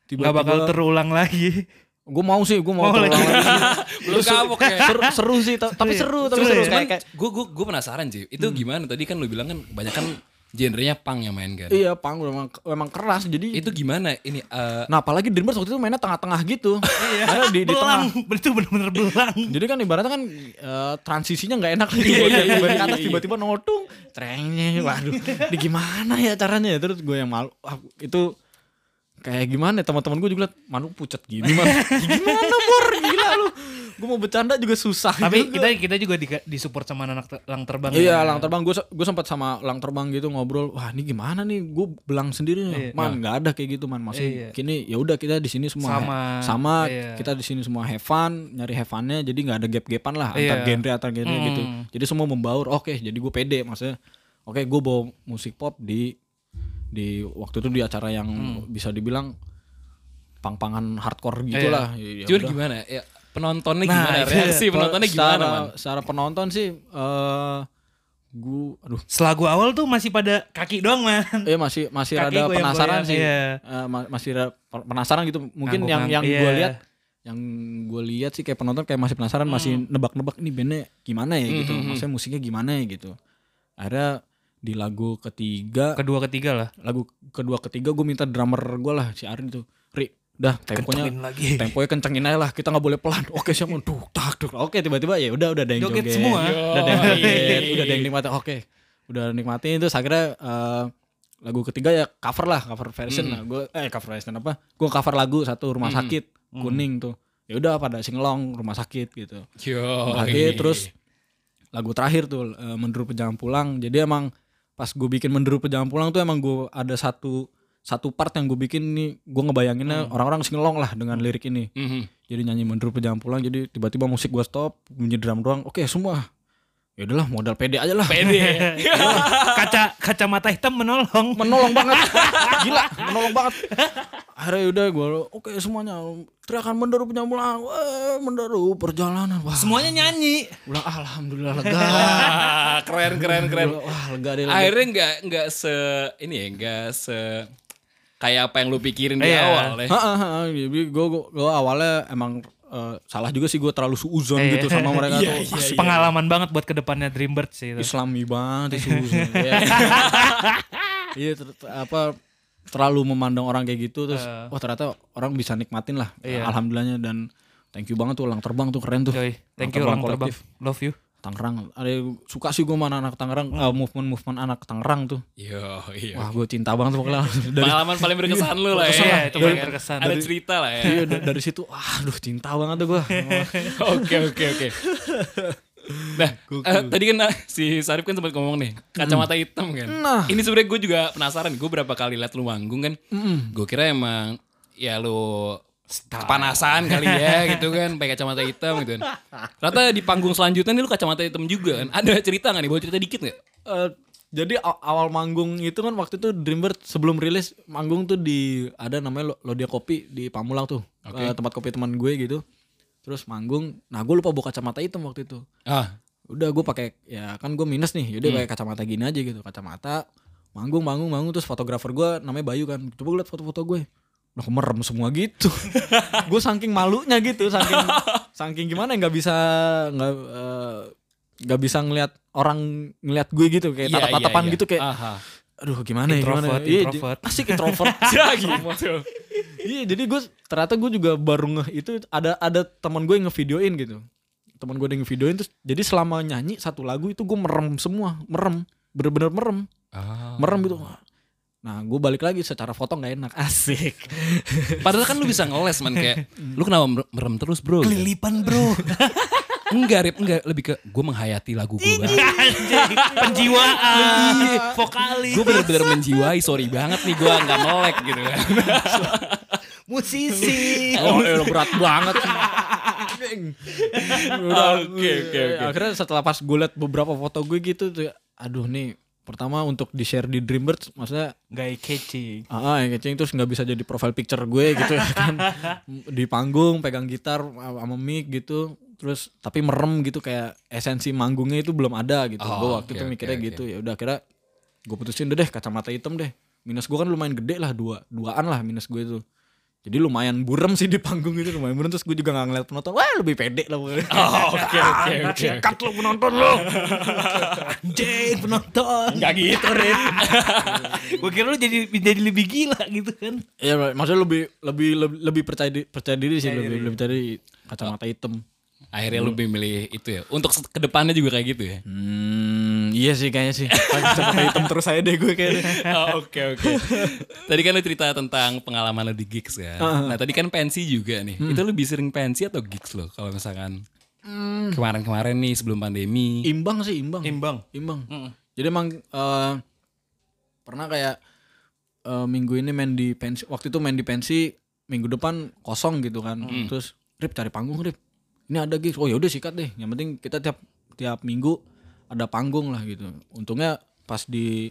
C: Gak bakal terulang lagi.
B: gue mau sih gue mau,
C: Mau
B: terulang
C: lagi.
B: lagi.
A: Belum kapok ya.
B: seru, seru sih ta- tapi seru tapi
C: Seru
B: seru, Hmm.
C: ya?
B: Kayak- kayak-
A: gue gue gue penasaran sih itu gimana tadi kan lu bilang kan banyak kan genrenya pang yang main kan
B: iya pang memang memang keras jadi
A: itu gimana ini eh,
B: nah apalagi Dreamers waktu itu mainnya tengah-tengah gitu Karena di, di tengah
C: belang. Itu bener-bener belang.
B: jadi kan ibaratnya kan eh, transisinya nggak enak gitu. Dari atas tiba-tiba nodong, trengnya, waduh, ini gimana ya caranya ya? Terus gue yang malu, ah, itu kayak gimana? ya, Teman-teman gue juga liat, malu pucat gini, Mas. gimana bor, gila lu? Gue mau bercanda juga susah.
C: Tapi
B: gitu.
C: kita kita juga di, disupport sama anak ter- lang terbang.
B: Iya,
C: ya.
B: lang terbang gue gue sempat sama lang terbang gitu ngobrol. Wah, ini gimana nih? Gue belang sendiri. Man, nggak ada kayak gitu, man. Maksudnya gini, ya udah kita di sini semua
C: Sama.
B: sama
C: Iya.
B: kita di sini semua have fun, nyari have fun-nya jadi nggak ada gap-gapan lah antar
C: Iya.
B: genre antar genre gitu. Jadi semua membaur. Oke, jadi gue pede maksudnya. Oke, gue bawa musik pop di di waktu itu di acara yang bisa dibilang pang-pangan hardcore gitulah. Ya, ya
A: jujur
B: udah.
A: gimana ya penontonnya gimana? Reaksi penontonnya gimana,
B: Nah, iya, secara,
A: man?
B: Secara penonton sih eh gue aduh
C: Setelah gua awal tuh masih pada kaki doang man.
B: Eh masih masih
C: Kaki
B: rada
C: goyang-goyang,
B: penasaran sih.
C: iya.
B: Eh, ma- masih rada per- penasaran gitu. Mungkin yang
C: Ngangguk-ngangguk,
B: yang gue
C: iya.
B: lihat yang gue lihat sih kayak penonton kayak masih penasaran, masih
C: Hmm.
B: nebak-nebak ini bandnya gimana ya gitu. Maksudnya musiknya gimana ya gitu. Akhirnya di lagu ketiga,
C: Kedua ketiga lah.
B: lagu kedua ketiga gue minta drummer gue lah si Arin tuh. Ri, dah temponya
C: Kencengin lagi.
B: temponya kencengin aja lah kita nggak boleh pelan oke siap duk tak duk oke tiba-tiba ya udah udah ada yang
C: Joget
B: joget
C: semua. Oh, iya,
B: udah ada yang
A: Yoi.
B: joget udah ada yang nikmatin oke udah nikmatin terus akhirnya eh, lagu ketiga ya cover lah cover version
C: Hmm.
B: lah gue eh cover version apa gue cover lagu satu rumah sakit
C: Hmm.
B: kuning tuh ya udah pada singelong rumah sakit gitu
A: Yo.
B: rumah
A: iya,
B: sakit terus lagu terakhir tuh eh, menderu pejalan pulang jadi emang pas gue bikin menderu pejalan pulang tuh emang gue ada satu satu part yang gue bikin nih gue
A: Hmm.
B: ngebayanginnya orang-orang singelong lah dengan lirik ini
A: Mhm.
B: jadi nyanyi menderu pejalan pulang jadi tiba-tiba musik gua stop bunyi drum doang oke semua ya udahlah modal pede aja lah
A: Pede.
C: Kaca kacamata hitam menolong.
B: menolong banget gila menolong banget akhirnya ya udah gua oke semuanya teriakan menderu pejalan pulang Wah, menderu perjalanan wah
C: Semuanya nyanyi.
B: udah alhamdulillah lega
A: Ah, keren keren keren.
B: wah lega deh lega.
A: Akhirnya nggak nggak se ini ya nggak se kayak apa yang lu pikirin di
C: Iya.
A: awal ya.
B: Ha, ha, ha, ha. Iya, Jadi gue awalnya emang eh, salah juga sih gue terlalu suuzon
C: Eh.
B: gitu sama mereka tuh.
C: Pas Iya, pengalaman banget buat kedepannya Dreambird sih itu.
B: Islami banget sih suuzon. Iya. Iya ter- ter- apa terlalu memandang orang kayak gitu terus
C: Eh.
B: wah ternyata orang bisa nikmatin lah alhamdulillahnya dan thank you banget tuh ulang terbang tuh keren tuh.
C: Iya. Yoi, thank you orang terbang. Love you.
B: Oh, Tangerang. Ada suka sih gue sama anak Tangerang
C: Hmm.
B: eh, movement-movement anak Tangerang tuh.
A: Yo, iya.
B: Wah, gue cinta banget sama Tangerang. Dari
A: Pengalaman paling berkesan lu lah ya.
C: Berkesan lah, itu paling
A: Iya kan?
C: berkesan.
A: Ada cerita lah ya.
B: iya, da- dari situ aduh cinta banget tuh gue.
A: Oke oke oke. Nah, eh, tadi kan ah, si Sarif kan sempat ngomong nih kacamata hitam kan.
B: Nah.
A: Ini sebenarnya gue juga penasaran. Gue berapa kali liat lu manggung kan. Gue kira emang ya lu kepanasan kali ya gitu kan pakai kacamata hitam gitu kan. Ternyata di panggung selanjutnya nih lu kacamata hitam juga kan. Ada cerita nggak nih? Boleh cerita dikit nggak?
B: Eh, jadi aw- awal manggung itu kan waktu itu Dreambird sebelum rilis manggung tuh di ada namanya Lo- Lodia Kopi di Pamulang tuh Eh, tempat kopi teman gue gitu terus manggung nah gue lupa bawa kacamata hitam waktu itu
A: Ah,
B: udah gue pakai ya kan gue minus nih
A: Hmm.
B: yaudah pakai kacamata gini aja gitu kacamata manggung manggung manggung terus fotografer gue namanya Bayu kan coba gue liat foto-foto gue udah merem semua gitu gue saking malunya gitu saking saking gimana ya, nggak bisa nggak eh, nggak bisa ngelihat orang ngelihat gue gitu kayak
A: Iya,
B: tatap-tatapan
A: iya, iya.
B: gitu kayak
A: Aha.
B: aduh gimana ya gimana
C: Introvert,
B: ya?" Iya,
C: introvert.
B: j- asik introvert
A: Ya gitu.
B: Iya, jadi gue ternyata gue juga baru ngeh itu ada ada teman gue yang ngevideoin gitu. Teman gue ada yang ngevideoin terus jadi selama nyanyi satu lagu itu gue merem semua, merem, bener-bener merem,
A: Ah.
B: merem gitu. Nah, gue balik lagi secara foto nggak enak, asik.
A: Padahal kan lu bisa ngeles man kayak lu kenapa mer- merem terus bro?
B: iya.
A: gitu.
C: Kelilipan bro.
A: Enggak, Rip, enggak. Lebih ke gue menghayati lagu gue banget.
C: Anjing,
B: Iya.
C: Penjiwaan. Vokalis.
A: Gue bener-bener menjiwai, sorry banget nih gue nggak melek gitu kan.
C: Musisi.
B: Oh, ya udah berat banget. Ding. Udah,
A: Oke, oke, oke.
B: Nah, Akhirnya setelah pas gue liat beberapa foto gue gitu, tuh, aduh nih pertama untuk di share di Dreambirds maksudnya
C: Gay catchy.
B: Ah, ah, yang kecing terus nggak bisa jadi profile picture gue gitu ya kan di panggung pegang gitar sama mic gitu terus tapi merem gitu kayak esensi manggungnya itu belum ada gitu
A: Oh,
B: gue waktu
A: oke,
B: itu
A: oke,
B: mikirnya
A: oke.
B: gitu ya udah akhirnya gue putusin udah deh kacamata hitam deh minus gue kan lumayan gede lah dua duaan lah minus gue itu jadi lumayan burem sih di panggung itu lumayan burem terus gue juga nggak ngeliat penonton wah lebih pede lah gue
A: Oke, oke, oke.
C: Cut lo penonton lo. Anjing penonton.
A: Gak gitu, Rip.
C: Gue kira lu jadi jadi lebih gila gitu kan.
B: ya maksudnya lebih lebih lebih, lebih percaya di- percaya diri sih lebih lebih percaya diri kacamata hitam
A: Akhirnya lu lebih milih itu ya. Untuk se- kedepannya juga kayak gitu ya.
B: Hmm, iya sih kayaknya sih. Pakai kacamata hitam terus aja deh gue kayaknya.
A: Oh, Oke, oke. Tadi kan lu cerita tentang pengalaman lu di gigs kan. Nah tadi kan pensi juga nih. Itu lebih sering pensi atau gigs lo? Kalau misalkan kemarin-kemarin nih sebelum pandemi.
B: Hmm, Imbang sih, imbang.
C: Imbang.
B: Imbang. Jadi emang eh, pernah kayak eh, minggu ini main di pensi, waktu itu main di pensi, minggu depan kosong gitu kan. Terus Rip cari panggung Rip. Ini ada gigs. Oh yaudah sikat deh. Yang penting kita tiap tiap minggu ada panggung lah gitu. Untungnya pas di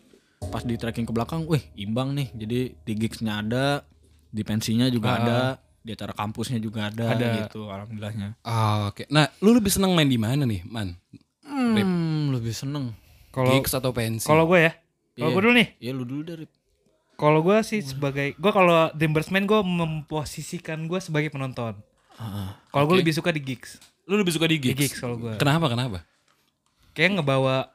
B: pas di tracking ke belakang, wih imbang nih. Jadi di gigsnya ada, di pensinya juga ada. di acara kampusnya juga ada,
C: Ada.
B: gitu alhamdulillahnya.
A: Ah, Oke. Nah, lu lebih seneng main di mana nih, Man?
B: Hmm, lebih seneng.
C: Kalau
A: Gigs atau pensi?
C: kalau gue ya, kalau
B: Iya.
C: gue dulu nih,
B: Ya lu dulu dari
C: kalau gue sih sebagai gue kalau Dreambersman gue memposisikan gue sebagai penonton. Kalau gue lebih suka di gigs,
A: lu lebih suka di
C: di
A: gigs?
C: gigs kalau gue.
A: Kenapa? Kenapa?
C: Kayak ngebawa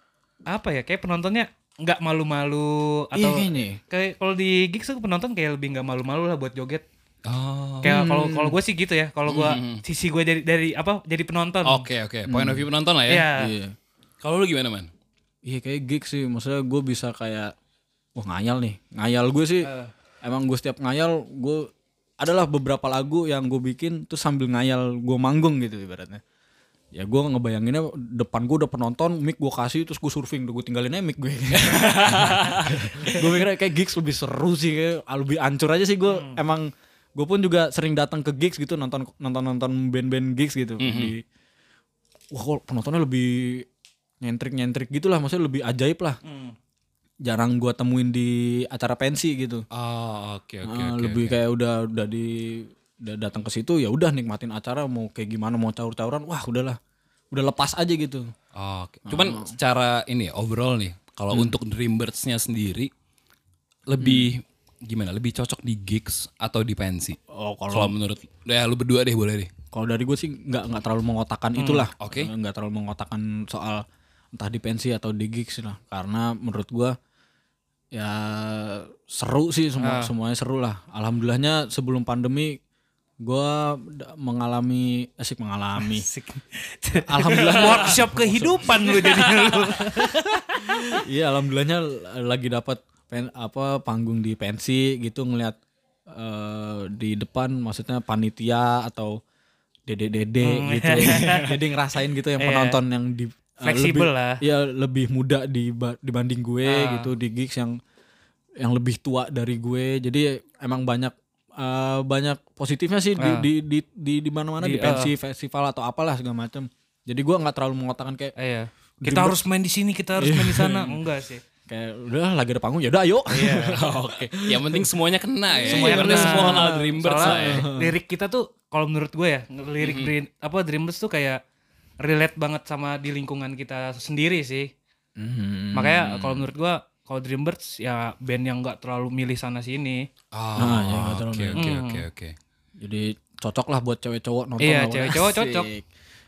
C: apa ya? Kayak penontonnya nggak malu-malu
B: Iya
C: atau
B: kayaknya.
C: kayak kalau di gigs tuh penonton kayak lebih nggak malu-malu lah buat joget.
A: Oh.
C: Kayak kalau kalau gue sih gitu ya. Kalau gue sisi gue dari dari apa? Jadi penonton.
A: Oke, oke. Point of view penonton lah ya.
C: Hmm. Iya.
B: Iya.
A: Kalau lu gimana, Man?
B: Iya kayak gig sih, maksudnya gue bisa kayak wah ngayal nih. Ngayal gue sih emang gue setiap ngayal gue adalah beberapa lagu yang gue bikin tuh sambil ngayal gue manggung gitu ibaratnya. Ya gue ngebayanginnya depan gue udah penonton, mic gue kasih terus gue surfing, gue tinggalin aja mic gue. gue mikirnya kayak gigs lebih seru sih, kayak lebih ancur aja sih gue emang gue pun juga sering datang ke gigs gitu nonton nonton nonton band-band gigs gitu di wah kok penontonnya lebih nyentrik nyentrik gitulah maksudnya lebih ajaib lah
A: Hmm.
B: jarang gua temuin di acara pensi gitu
A: Oh, oke, oke,
B: Eh,
A: oke.
B: lebih kayak udah udah di udah datang ke situ ya udah nikmatin acara mau kayak gimana mau caur-cauran wah udahlah udah lepas aja gitu
A: Oh, oke. Cuman secara ini ya, overall nih, kalau untuk Dreambirds-nya sendiri lebih gimana? Lebih cocok di gigs atau di pensi?
B: oh
A: Kalau menurut ya lu berdua deh boleh deh.
B: kalau dari gue sih nggak nggak terlalu mengotakkan itulah
A: oke.
B: Eh, nggak terlalu mengotakkan soal entah di pensi atau di gigs lah karena menurut gua ya seru sih semua semuanya seru lah alhamdulillahnya sebelum pandemi gua d- mengalami asik mengalami alhamdulillah
C: Workshop kehidupan lu jadi lu.
B: Iya, alhamdulillahnya l- lagi dapat pen- apa panggung di pensi gitu ngelihat eh, di depan maksudnya panitia atau dede-dede
C: Hmm.
B: gitu. Jadi ngerasain gitu yang penonton yang di eh,
C: Iya. Fleksibel
B: lebih-
C: lah. Ah.
B: Iya, lebih muda diba- dibanding gue gitu di gigs yang yang lebih tua dari gue. Jadi emang banyak eh, banyak positifnya sih
C: Ah.
B: di di di di, di mana-mana di, pensi festival atau apalah segala macam. Jadi gua nggak terlalu mengatakan kayak
C: Iya. Kita harus main di sini, kita harus main di sana. Enggak sih.
B: kayak udah lagi ada panggung ya udah ayo.
C: Iya.
A: Oke. Yang penting semuanya kena ya.
C: Semuanya
A: Ibaratnya
C: kena.
A: semua kenal Dreambirds lah ya.
C: Soalnya lirik kita tuh kalau menurut gue ya, lirik Dream- apa Dreamers tuh kayak relate banget sama di lingkungan kita sendiri sih.
B: Hmm,
A: Mm.
C: Makanya kalau menurut gue kalau Dreambirds ya band yang nggak terlalu milih sana sini.
A: Ah, oke oke oke oke.
B: Jadi cocok lah buat cewek cowok nonton lawan
C: Iya, cewek cowok
B: asik.
C: cocok.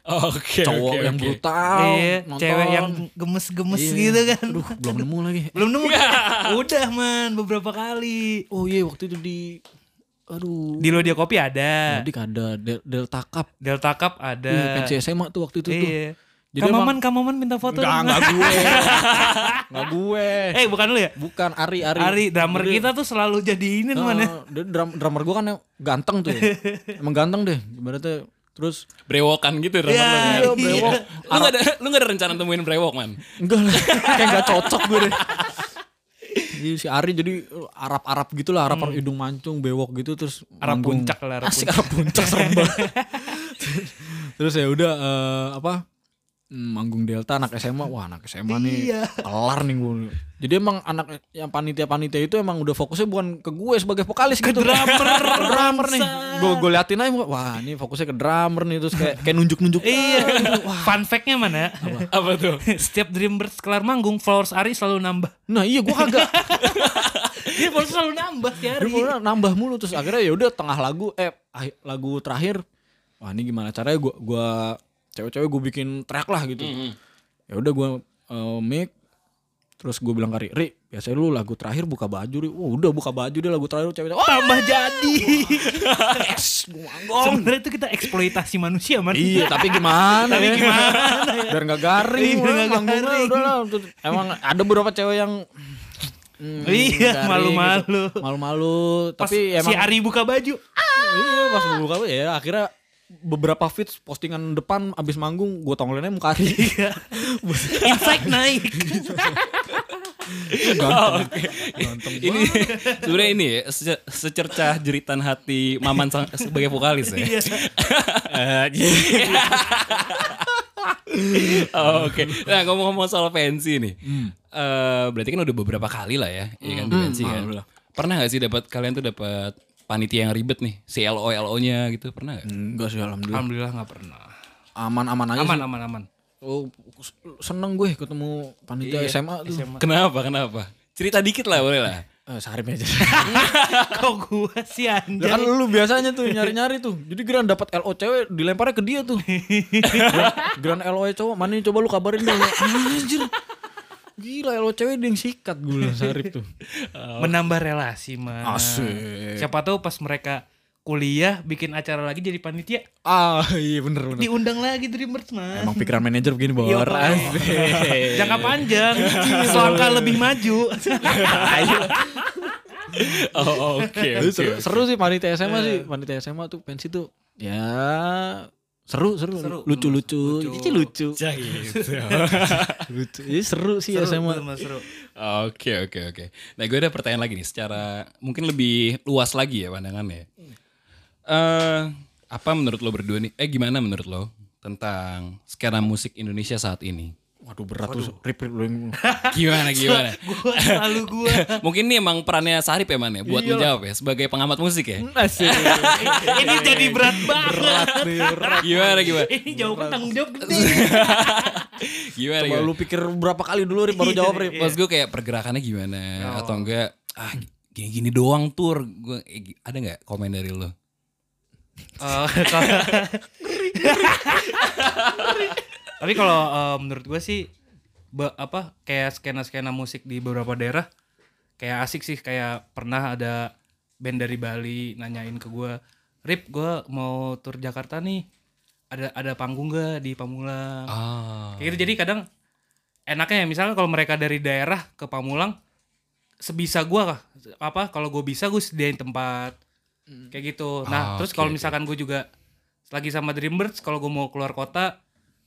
A: Oke.
B: Cowok
A: oke,
B: yang
A: oke.
B: brutal,
C: iya,
B: nonton.
C: cewek yang gemes-gemes
B: Iya.
C: gitu kan.
B: Aduh, belum nemu lagi.
C: Belum nemu. Udah man, beberapa kali.
B: Oh iya, waktu itu di aduh,
C: Di Lodia Kopi ada,
B: Adik ada Del- Delta Cup.
C: Delta Cup
B: Iya,
C: ada.
B: pensi SMA tuh waktu itu tuh.
C: Iya.
B: Jadi
C: Kamaman, Kamaman minta foto.
B: Enggak, enggak
C: dong.
B: gue. Enggak gue.
C: Eh, bukan lu ya?
B: Bukan Ari, Ari. Iya.
C: Ari, ya. drummer kita tuh selalu jadi ini
B: Eh,
C: mana?
B: dia drum- drummer gue kan ganteng tuh. ya. Emang ganteng deh, ibaratnya terus
A: Brewokan gitu drummer
C: Iya,
A: lu ya.
C: iya, brewok.
A: Lu gak ada lu gak ada rencana temuin brewok, Man?
B: Enggak lah, kayak gak cocok gue deh. Jadi Iya, si Ari jadi Arab-Arab gitu lah, Arab hidung mancung, bewok gitu terus
C: Arab
B: manggung.
C: puncak lah, Arab
B: Asik Arab puncak serem banget. terus ya udah eh, apa? hmm, Manggung Delta anak SMA, wah anak SMA nih kelar nih gue. Jadi emang anak yang panitia-panitia itu emang udah fokusnya bukan ke gue sebagai vokalis gitu. drummer, drummer nih. Gue gue liatin aja, wah ini fokusnya ke drummer nih terus kayak kayak nunjuk-nunjuk.
C: Iya. Fun fact-nya mana?
A: Apa tuh?
C: Setiap Dreambirds kelar manggung, followers Ari selalu nambah.
B: Nah iya gue kagak. Iya,
C: Dia followers selalu nambah tiap hari.
B: Dia mulai nambah mulu terus akhirnya ya udah tengah lagu eh ah- lagu terakhir wah ini gimana caranya gua gua cewek-cewek gue bikin track lah gitu.
C: Mm-hmm.
B: Ya udah gua eh, mic terus gue bilang ke Ri, Ri, biasanya lu lagu terakhir buka baju, Ri. Wah, udah buka baju deh lagu terakhir cewek. Oh,
C: Tambah jadi.
B: yes, gua manggung.
C: Sebenarnya itu kita eksploitasi manusia, man.
B: Iya, tapi gimana?
C: Tapi
B: ya?
C: gimana
B: Biar gak garing.
C: Iya, biar
B: udah,
C: nggak
B: manggungnya
C: garing.
B: udah lah. Terus Emang ada beberapa cewek yang hmm,
C: Iya,
B: garing
C: malu-malu.
B: gitu. Malu-malu,
C: Pas
B: tapi emang
C: si Ari buka baju.
B: Iya pas buka apa ya akhirnya beberapa fits postingan depan abis manggung gue tonggolinnya muka Ari.
C: Insight naik.
B: Ganteng.
A: Ini sebenarnya ini ya, sece- secercah jeritan hati Maman sang- sebagai vokalis ya.
B: Iya,
A: Eh, gitu. Oh, Oke. Nah, ngomong-ngomong soal pensi nih.
B: Hmm.
A: iya Eh berarti kan udah beberapa kali lah ya, ya kan di pensi kan. Pernah gak sih dapat kalian tuh dapat panitia yang ribet nih, CLO LO-nya gitu pernah nggak?
B: Enggak sih alhamdulillah.
C: Alhamdulillah nggak pernah.
B: Aman-aman aja
C: Aman
B: sih.
C: aman aman.
B: Oh, seneng gue ketemu panitia SMA tuh.
A: Kenapa? Kenapa? Cerita dikit lah boleh lah.
B: Eh, Sarip aja.
C: Kok gua sih
B: Ya
C: anjay.
B: kan lu biasanya tuh nyari-nyari tuh. Jadi Grand dapat LO cewek dilemparnya ke dia tuh. Grand LO cowok, mana nih coba lu kabarin dong. Anjir. Gila LO cewek dia yang sikat gue bilang Sarip tuh.
C: Menambah relasi mas.
B: Asik.
C: Siapa tahu pas mereka kuliah bikin acara lagi jadi panitia
B: Ah, iya bener bener.
C: diundang lagi Dreamers mas.
B: Emang pikiran manajer begini
C: Iya,
B: bor.
C: Pak. Jangka panjang, selangkah lebih maju.
A: Oh oke
B: Tapi seru, seru sih panitia SMA sih.
C: Iya.
B: Panitia SMA tuh pensi tuh ya seru seru, lucu-lucu. Ini sih lucu. gitu. Lucu. Ini seru sih SMA.
C: Mas, seru.
A: Oke oke oke. Nah gue ada pertanyaan lagi nih secara mungkin lebih luas lagi ya pandangannya. Eh apa menurut lo berdua nih? Eh gimana menurut lo tentang skena musik Indonesia saat ini?
B: Waduh berat tuh. Rip rip lu. yang-
A: Gimana gimana?
C: Gua selalu gua.
A: mungkin ini emang perannya Sarip ya man ya buat menjawab ya sebagai pengamat musik ya.
C: Ini jadi berat banget.
A: Gimana gimana?
C: Ini jauh kan tanggung jawab gede.
A: Gimana
B: Coba
A: gimana?
B: lu pikir berapa kali dulu Rip baru jawab Rip.
A: Mas gue kayak pergerakannya gimana
B: Ya.
A: atau enggak? Ah gini-gini doang tour. Gue eh, ada nggak komen dari lo?
C: Eh, kalau- Tapi kalau eh, menurut gue sih be- apa kayak skena-skena musik di beberapa daerah kayak asik sih kayak pernah ada band dari Bali nanyain ke gue, "Rip, gue mau tur Jakarta nih. Ada ada panggung gak di Pamulang?"
A: Ah.
C: Kayak gitu jadi kadang enaknya ya misalnya kalau mereka dari daerah ke Pamulang sebisa gua kah apa kalau gue bisa gue sediain tempat kayak gitu. Nah,
A: Ah,
C: terus
A: oke,
C: kalau
A: oke.
C: misalkan gue juga lagi sama Dreambirds kalau gue mau keluar kota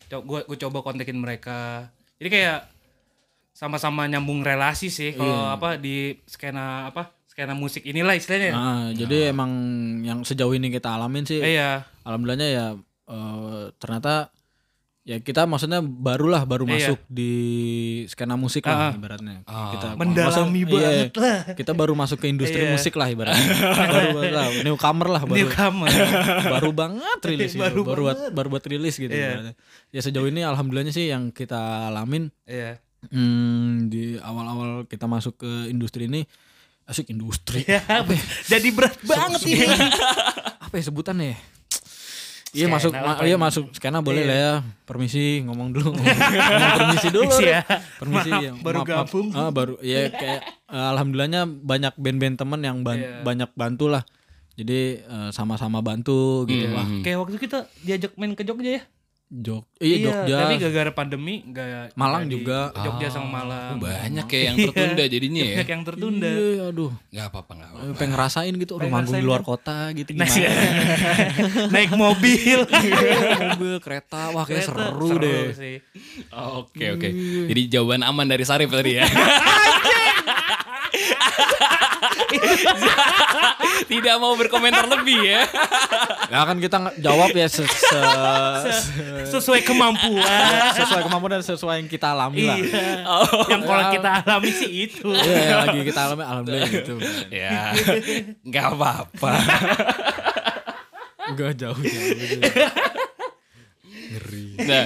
C: gue gue coba kontekin mereka. Jadi kayak sama-sama nyambung relasi
A: Iya.
C: sih kalau apa di skena apa skena musik inilah
A: Ah.
C: istilahnya. ya.
B: Nah, jadi emang yang sejauh ini kita alamin sih
C: Eh, Iya.
B: alhamdulillahnya ya eh, ternyata ya kita maksudnya barulah baru
C: Iya. Ah.
B: masuk di skena musik lah ibaratnya kita maksudnya-
C: Mendalami banget
B: iya,
C: lah.
B: kita baru masuk ke industri
C: Iya.
B: musik lah ibaratnya baru, baru lah, newcomer lah baru
C: Newcomer.
B: baru banget rilis gitu.
C: ya. Iya, Baru Iya.
B: baru, buat baru buat rilis gitu ibaratnya. ya sejauh ini alhamdulillahnya sih yang kita alamin
C: Iya.
B: hmm, di awal-awal kita masuk ke industri ini asik industri
C: Ya, jadi berat banget ini.
B: apa ya sebutannya ya? Iya masuk, ma- iya masuk skena boleh lah ya. Permisi ngomong dulu. Ngomong permisi dulu.
C: Permisi ya.
B: Permisi
C: Maaf,
B: ya.
C: baru gabung.
B: Ah, baru ya kayak eh, alhamdulillahnya banyak band-band temen yang ban-
C: Iya.
B: banyak bantu lah. Jadi eh, sama-sama bantu gitu wah.
C: Kayak waktu kita diajak main ke Jogja ya.
B: Jog iya, Jogja.
C: Tapi gara-gara pandemi nggak
B: Malang
C: nggak di-
B: juga. Ah,
C: Jogja sama Malang.
A: Banyak ya yang tertunda jadinya ya.
C: Banyak yang tertunda.
B: Iya, aduh.
A: Gak apa-apa gak apa-apa.
B: Pengen ngerasain gitu aduh manggung di luar kota gitu
C: Nah,
B: gimana.
C: naik mobil.
B: Mobil, kereta, wah kayaknya
C: Ternyata
B: seru, deh.
C: sih.
A: Oh, Oke oke. Jadi jawaban aman dari Sarif tadi ya. Tidak mau berkomentar lebih ya.
B: Ya kan kita nge- jawab ya se- se-
C: Sesuai kemampuan.
B: sesuai kemampuan dan sesuai yang kita alami lah.
C: iya. Yang kalau kita alami sih itu.
B: Oh. Iya, yang lagi kita alami alhamdulillah gitu.
A: ya. Gak apa-apa.
B: Enggak jauh jauh.
A: Nah.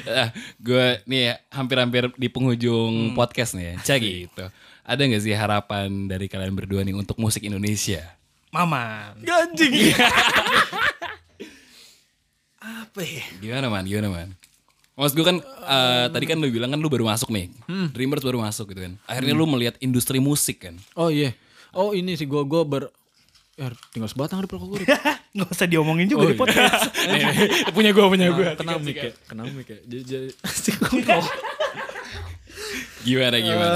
A: gue nih ya, hampir-hampir di penghujung podcast nih ya. Cak gitu. Ada gak sih harapan dari kalian berdua nih untuk musik Indonesia?
C: Mama.
B: Ganjing.
A: Gimana man? Gimana man? Mas gue kan eh, tadi kan lu bilang kan lu baru masuk nih. Dreamers baru masuk gitu kan. Akhirnya lu melihat industri musik kan.
B: Oh iya. Oh ini sih gua gua ber Ya, tinggal sebatang di Oh, pelakuk gue.
C: Nggak usah diomongin
B: iya.
C: juga di podcast.
A: punya gue, punya gue.
B: Kena mic ya, kena mic ya. Jadi- jadi- Asik, gua mau-
A: Gimana gimana?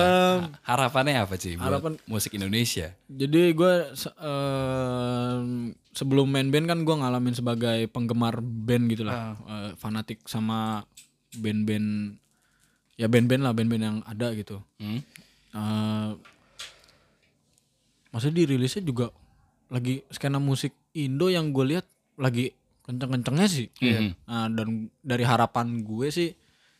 A: Harapannya apa sih buat
B: harapan-
A: musik Indonesia?
B: Jadi gua se- em, sebelum main band kan gua ngalamin sebagai penggemar band gitu lah. Eh, fanatik sama band-band ya band-band lah, band-band yang ada gitu.
A: Hmm?
B: Eh, maksudnya dirilisnya juga lagi skena musik Indo yang gue lihat lagi kenceng-kencengnya sih. Nah, dan dari harapan gue sih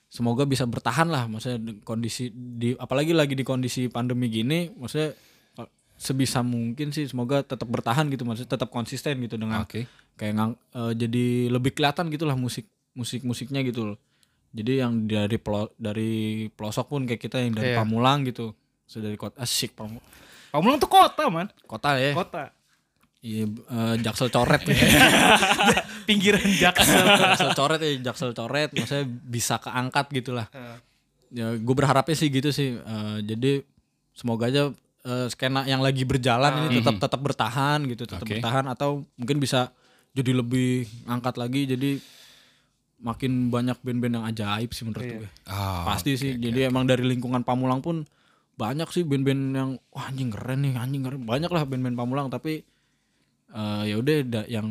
B: semoga bisa bertahan lah maksudnya di- kondisi di apalagi lagi di kondisi pandemi gini maksudnya eh, sebisa mungkin sih semoga tetap bertahan gitu maksudnya tetap konsisten gitu dengan
A: Oke.
B: kayak ngang- eh, jadi lebih kelihatan gitulah musik musik musiknya gitu loh jadi yang dari pelo- dari pelosok pun kayak kita yang dari
C: Iya.
B: Pamulang gitu so, dari kota asik Pamu-
C: Pamulang tuh kota man,
B: kota ya
C: kota.
B: Iya, eh, jaksel coret
C: Pinggiran Jaksel.
B: jaksel coret ya jaksel coret maksudnya bisa keangkat gitulah
C: Heeh.
B: ya gue berharapnya sih gitu sih Eh, jadi semoga aja eh, skena yang lagi berjalan ini tetap tetap bertahan gitu tetap
A: Oke.
B: bertahan atau mungkin bisa jadi lebih angkat lagi jadi makin banyak band-band yang ajaib sih menurut gue
A: Ah,
B: pasti sih jadi emang dari lingkungan Pamulang pun banyak sih band-band yang wah anjing keren nih anjing keren banyak lah band-band Pamulang tapi eh, ya udah da- yang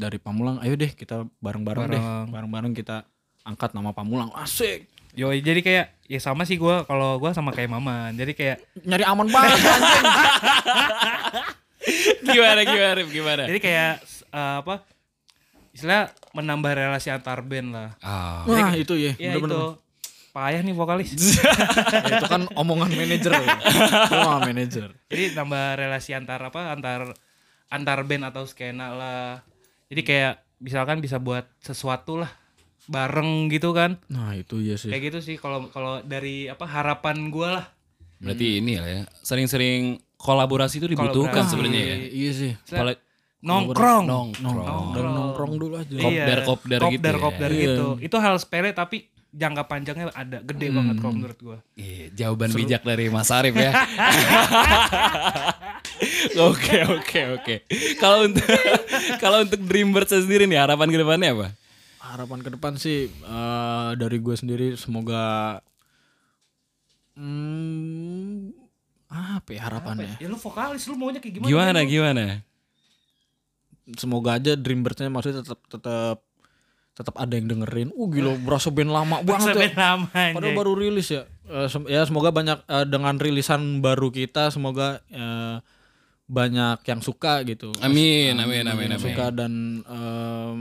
B: dari Pamulang ayo deh kita bareng-bareng deh bareng-bareng kita angkat nama Pamulang asik
C: Yo, jadi kayak ya sama sih gua kalau gua sama kayak Maman. Jadi kayak
B: nyari aman banget anjing
A: gimana gimana Rif, gimana?
C: jadi kayak s- eh, apa? Istilah menambah relasi antar band lah.
A: Ah,
B: wah itu ya,
C: Ya
B: bener-bener.
C: itu. Payah nih vokalis.
B: Ya, itu kan omongan manajer ya. Wah, manajer
C: jadi nambah relasi antar apa antar antar band atau skena lah jadi kayak misalkan bisa buat sesuatu lah bareng gitu kan
B: nah itu
A: Iya.
B: ya sih
C: kayak gitu sih kalau kalau dari apa harapan gua lah
A: berarti ini lah ya. Sering-sering kolaborasi itu dibutuhkan
C: Kolaborasi.
A: sebenarnya ya.
B: Iya, iya sih
A: Apalagi
C: nongkrong Iya.
A: nongkrong.
B: dan nongkrong dulu aja
A: Kopdar, kopdar gitu
C: kopdar
A: ya.
C: kopdar gitu itu hal sepele tapi jangka panjangnya ada gede
A: Hmm.
C: banget kalau menurut gua
A: Iya, jawaban bijak dari Mas Arif ya. Oke, oke, oke. Kalau untuk kalau untuk Dreambirds sendiri nih harapan ke depannya apa?
B: harapan ke depan sih eh, dari gue sendiri semoga hmm, apa ya harapannya
C: ya lu vokalis lu maunya kayak gimana
A: Gimana gimana?
B: semoga aja Dreambirds-nya maksudnya tetap tetap tetap ada yang dengerin uh gila berasa band lama banget ya
C: sampai namanya
B: padahal baru rilis ya Eh, sem- ya semoga banyak eh, dengan rilisan baru kita semoga eh, banyak yang suka gitu
A: Amin, amin, amin,
B: yang
A: amin.
B: suka dan em,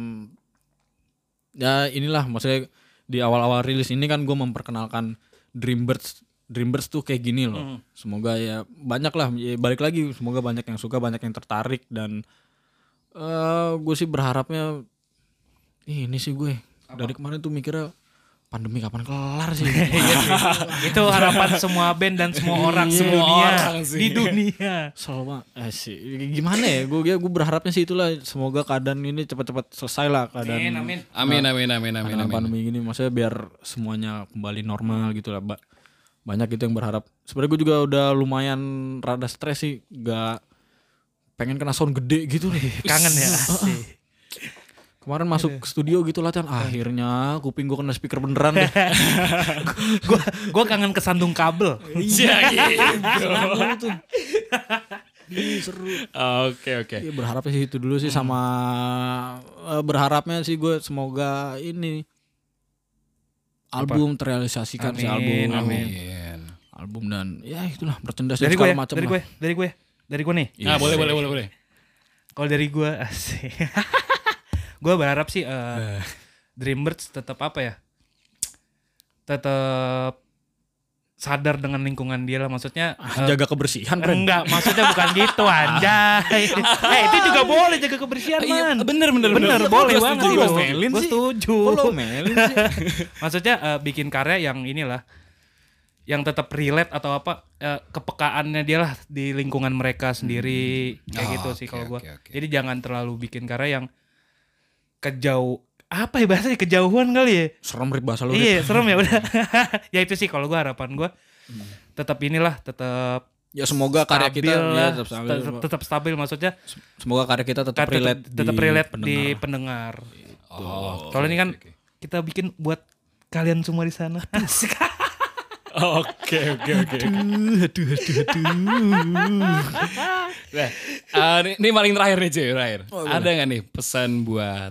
B: ya inilah maksudnya di awal-awal rilis ini kan gue memperkenalkan Dreambirds Dreambirds tuh kayak gini
A: Hmm.
B: loh semoga ya banyak lah ya balik lagi semoga banyak yang suka banyak yang tertarik dan eh gue sih berharapnya Ih, ini sih gue dari kemarin tuh mikirnya pandemi kapan kelar sih
C: itu harapan semua band dan semua orang di
A: Iya, semua
C: dunia.
A: orang sih.
C: di dunia
B: Selama eh sih gimana ya gue gue berharapnya sih itulah semoga keadaan ini cepat-cepat selesai lah keadaan
C: amin amin
A: Amin, amin, amin, amin,
B: Karena
A: amin.
B: pandemi gini maksudnya biar semuanya kembali normal gitu lah Mbak. banyak itu yang berharap sebenarnya gue juga udah lumayan rada stres sih gak pengen kena sound gede gitu nih
C: kangen ya asik.
B: kemarin masuk ke studio gitu latihan akhirnya kuping gue kena speaker beneran deh
C: gua gua kangen kesandung kabel
A: Iya gitu.
B: Iya, Gimana tuh? Ih, seru
A: Oke, oke.
B: Iya berharapnya sih itu dulu sih
C: Hmm.
B: sama eh, berharapnya sih gue semoga ini album terrealisasikan sih album
A: Amin.
B: album dan ya itulah merchandise dan
C: dari gue
B: segala
C: ya,
B: macam
C: dari
B: lah.
C: gue dari gue dari gue nih
A: Nah,
B: Iya,
A: boleh, boleh, boleh, boleh.
C: kalau dari gue asik gue berharap sih eh, Dreambirds tetap apa ya tetap sadar dengan lingkungan dia lah maksudnya
A: Ah,
C: eh,
B: Ah, Jaga kebersihan Bren.
C: enggak maksudnya bukan gitu anjay eh itu juga boleh jaga kebersihan
B: Iya,
C: man
A: Iya, bener, bener, bener.
C: bener boleh
A: Gua
C: banget
A: setuju,
C: itu.
A: gua
B: omelin
C: Gua
B: sih.
C: setuju
B: Kok lo omelin sih?
C: Maksudnya eh, bikin karya yang inilah yang tetap relate atau apa eh, kepekaannya dia lah di lingkungan mereka sendiri
B: Hmm.
C: kayak
A: Oh,
C: gitu sih
A: oke,
C: kalau gua.
A: oke, oke.
C: Jadi jangan terlalu bikin karya yang kejauh apa ya bahasanya kejauhan kali ya.
B: Serem Rik bahasa lo.
C: iya, serem ya udah. ya itu sih kalau gua harapan gua tetap inilah tetap
B: Ya semoga Hmm. karya kita
C: stabil
B: ya,
C: lah,
B: tetap stabil.
C: tetap- tetap stabil maksudnya
B: Semoga karya kita tetap
C: tetap
B: relate
C: tetap
B: di
C: relate di
B: pendengar. Gitu.
C: pendengar.
A: Oh,
C: Soalnya ini kan kita bikin buat kalian semua di sana. Asik.
A: Oke, oke, oke.
B: Aduh, aduh, aduh, aduh.
A: Nah, eh, ini- ini paling terakhir nih cuy, terakhir. Ada nggak nih pesan buat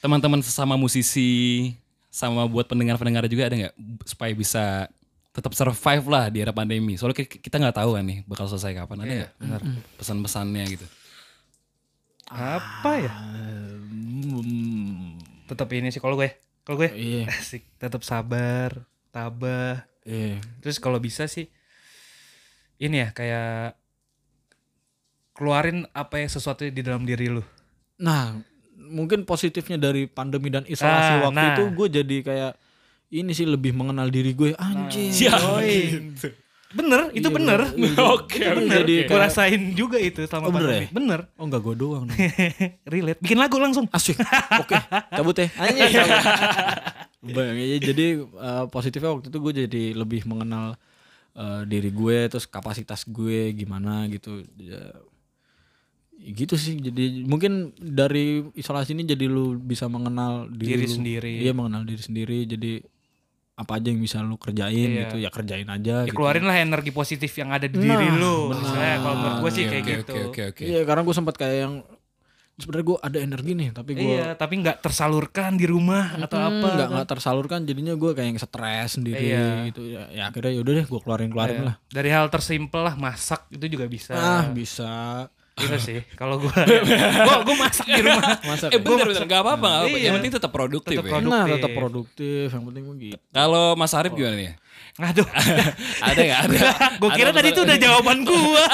A: teman-teman sesama musisi, sama buat pendengar-pendengar juga ada nggak supaya bisa tetap survive lah di era pandemi. Soalnya ki- kita nggak tahu kan nih bakal selesai kapan. Ada nggak pesan-pesannya gitu?
C: apa ya?
B: Hmm,
C: Tetap ini sih kalau gue. Kalau gue
B: Iya.
C: asik, tetap sabar, tabah.
B: Iya.
C: Terus kalau bisa sih ini ya kayak keluarin apa yang sesuatu di dalam diri lu.
B: Nah, mungkin positifnya dari pandemi dan isolasi
C: Ah,
B: waktu
C: nah.
B: itu gue jadi kayak ini sih lebih mengenal diri gue anjing.
A: Ya,
C: Yoi. Bener, Nah. itu
B: Iya,
C: bener.
A: Oke,
C: Itu
A: oke.
C: bener.
B: Jadi
C: Gua
B: kayak-
C: rasain juga itu
B: Oh,
C: selama
B: bener
C: pandemi.
B: ya?
C: Bener.
B: Oh enggak gue doang. dong.
C: Relate. Bikin lagu langsung.
B: Asik. Oke, cabut ya. Anjing. Bayangin aja, jadi eh, positifnya waktu itu gue jadi lebih mengenal eh, diri gue terus kapasitas gue gimana gitu. Ya, gitu sih. Jadi mungkin dari isolasi ini jadi lu bisa mengenal diri,
C: Diri
B: lu.
C: sendiri.
B: Iya, mengenal diri sendiri. Jadi apa aja yang bisa lu kerjain
C: Iya.
B: gitu, ya kerjain aja
C: Ya
B: gitu.
C: keluarin lah energi positif yang ada di diri
B: Nah,
C: lu.
B: benar.
C: Misalnya kalau menurut gue sih
A: Oke,
C: kayak
A: Iya, oke,
C: gitu.
A: Oke, oke, oke.
B: Iya, karena gue sempat kayak yang sebenarnya gue ada energi nih, tapi gue
C: Iya, tapi nggak tersalurkan di rumah atau
B: Hmm,
C: apa.
B: nggak nggak tersalurkan jadinya gue kayak yang stres sendiri
C: Iya.
B: gitu ya, ya akhirnya yaudah deh gue keluarin keluarin lah
C: Dari hal tersimpel lah masak itu juga bisa.
B: ah bisa
C: Gitu sih. Kalau gue, gue gue masak di rumah.
B: masa
A: Eh bener, bener. Gak apa-apa, nggak apa-apa.
C: Iya.
A: Yang penting tetap produktif
C: Tetap
A: ya.
C: produktif.
B: nah tetap produktif yang penting gue gitu
A: Kalau Mas Arif gimana nih?
C: Aduh.
A: Ada gak? Ada.
C: Gue kira
A: Ada
C: tadi itu
A: pesan-
C: udah jawaban gue.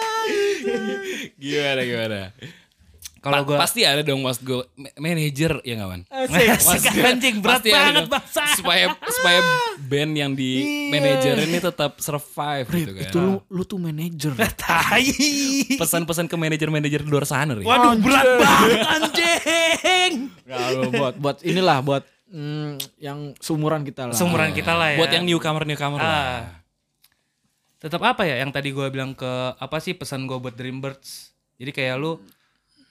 A: Gimana, gimana?
C: Kalau
A: Pa-
C: gue
A: Pasti ada dong mas gue Ma- manajer ya gak man?
C: Asik, anjing berat
A: Pasti ada
C: banget
A: dong.
C: bangsa. Iya.
A: Supaya supaya band yang di manajer ini tetap survive gitu kan.
B: itu lu lu tuh manajer
C: Tai.
A: Pesan-pesan ke manajer-manajer di luar sana nih.
C: Waduh berat banget anjing.
B: Kalau buat buat inilah buat mm, yang seumuran kita lah
C: Seumuran kita lah ya.
A: Buat yang newcomer-newcomer lah.
C: Ah. Tetap apa ya yang tadi gue bilang ke apa sih pesan gue buat Dreambirds? Jadi kayak lu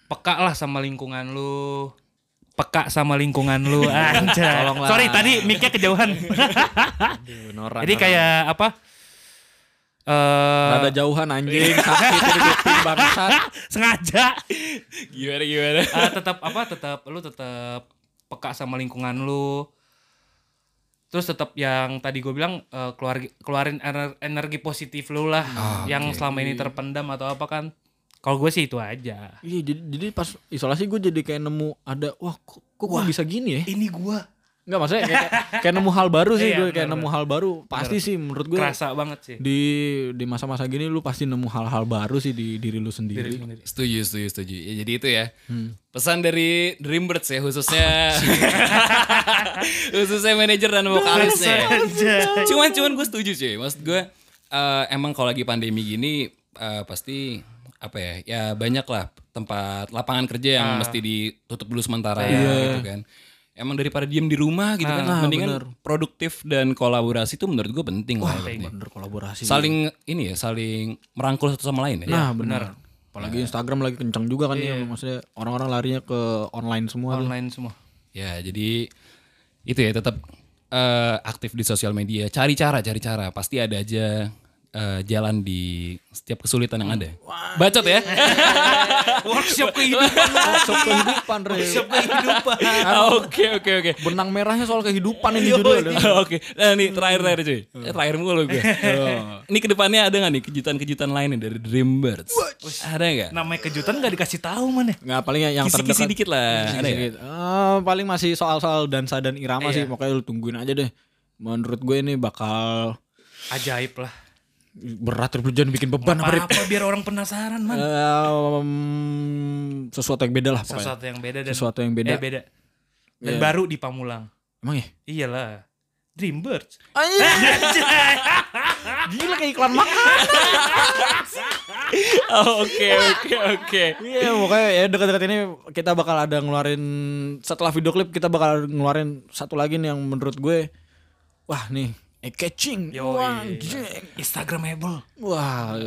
C: peka lah sama lingkungan lu. Peka sama lingkungan lu anjay.
B: Tolonglah.
C: Sorry tadi mic-nya kejauhan.
B: Aduh, norak,
C: Jadi
B: norak.
C: kayak apa? Eh
B: rada jauhan anjing sakit di kuping, bangsat
C: sengaja
A: Gimana, gimana?
C: Ah, tetap apa tetap lu tetap peka sama lingkungan lu terus tetap yang tadi gue bilang eh, keluar keluarin ener- energi positif lu lah
B: Ah,
C: yang selama ini terpendam atau apa kan kalau gue sih itu aja
B: iya jadi, jadi pas isolasi gue jadi kayak nemu ada wah kok, kok gue bisa gini ya
C: ini gue
B: Enggak maksudnya kayak, kayak nemu hal baru sih
C: Iya,
B: gue kayak
C: benar,
B: nemu hal baru pasti sih menurut gue
C: kerasa banget sih
B: di di masa-masa gini lu pasti nemu hal-hal baru sih di diri lu sendiri.
A: Setuju, setuju, setuju. Ya, jadi itu ya. Pesan dari Dreambirds ya khususnya. khususnya manajer dan vokalis ya. Cuman cuman gue setuju cuy. Maksud gue eh, emang kalau lagi pandemi gini eh, pasti apa ya? Ya banyak lah tempat lapangan kerja yang mesti ditutup dulu sementara gitu kan. Emang daripada diem di rumah gitu kan, mendingan produktif dan kolaborasi itu menurut gue penting lah. menurut gue.
B: Bener kolaborasi.
A: Saling ini ya, saling merangkul satu sama lain ya.
B: Nah, bener. Apalagi Instagram lagi kencang juga kan ya maksudnya orang-orang larinya ke online semua. tuh.
C: online semua
A: Ya, jadi itu ya tetap eh, aktif di sosial media. Cari cara, cari cara. Pasti ada aja eh, jalan di setiap kesulitan yang ada. Bacot ya.
C: workshop kehidupan
B: Workshop kehidupan, Re.
C: workshop kehidupan
A: iya. Oke, oke, oke.
B: Benang merahnya soal kehidupan ini judulnya.
A: Oke. Nah, nih terakhir terakhir cuy. Eh, Terakhir mulu gue. Ini kedepannya ada nggak nih kejutan-kejutan lain nih dari Dreambirds? Ada nggak?
C: namanya kejutan gak dikasih tahu man ya
B: Nggak paling yang, yang
A: Nah, Kisi-kisi
B: terdekat.
A: dikit lah. Ada nggak?
B: Sedikit. Eh, paling masih soal-soal dansa dan irama sih, makanya lu tungguin aja deh. Menurut gue ini bakal
C: ajaib lah
B: berat Rip. Lu jangan bikin beban apa, Rip.
C: apa biar orang penasaran man
B: Eh, Em, sesuatu yang beda lah pokoknya.
C: sesuatu yang beda dan
B: ya? Sesuatu yang beda. Iya.
C: eh, beda dan baru di Pamulang
B: Emang ya?
C: iyalah Dreambirds
B: Gila kayak iklan makan.
A: Oke, oke, oke.
B: Iya, pokoknya ya dekat-dekat ini kita bakal ada ngeluarin setelah video klip kita bakal ngeluarin satu lagi nih yang menurut gue wah nih eye catching. Wah, anjing.
C: Instagramable
B: Wah.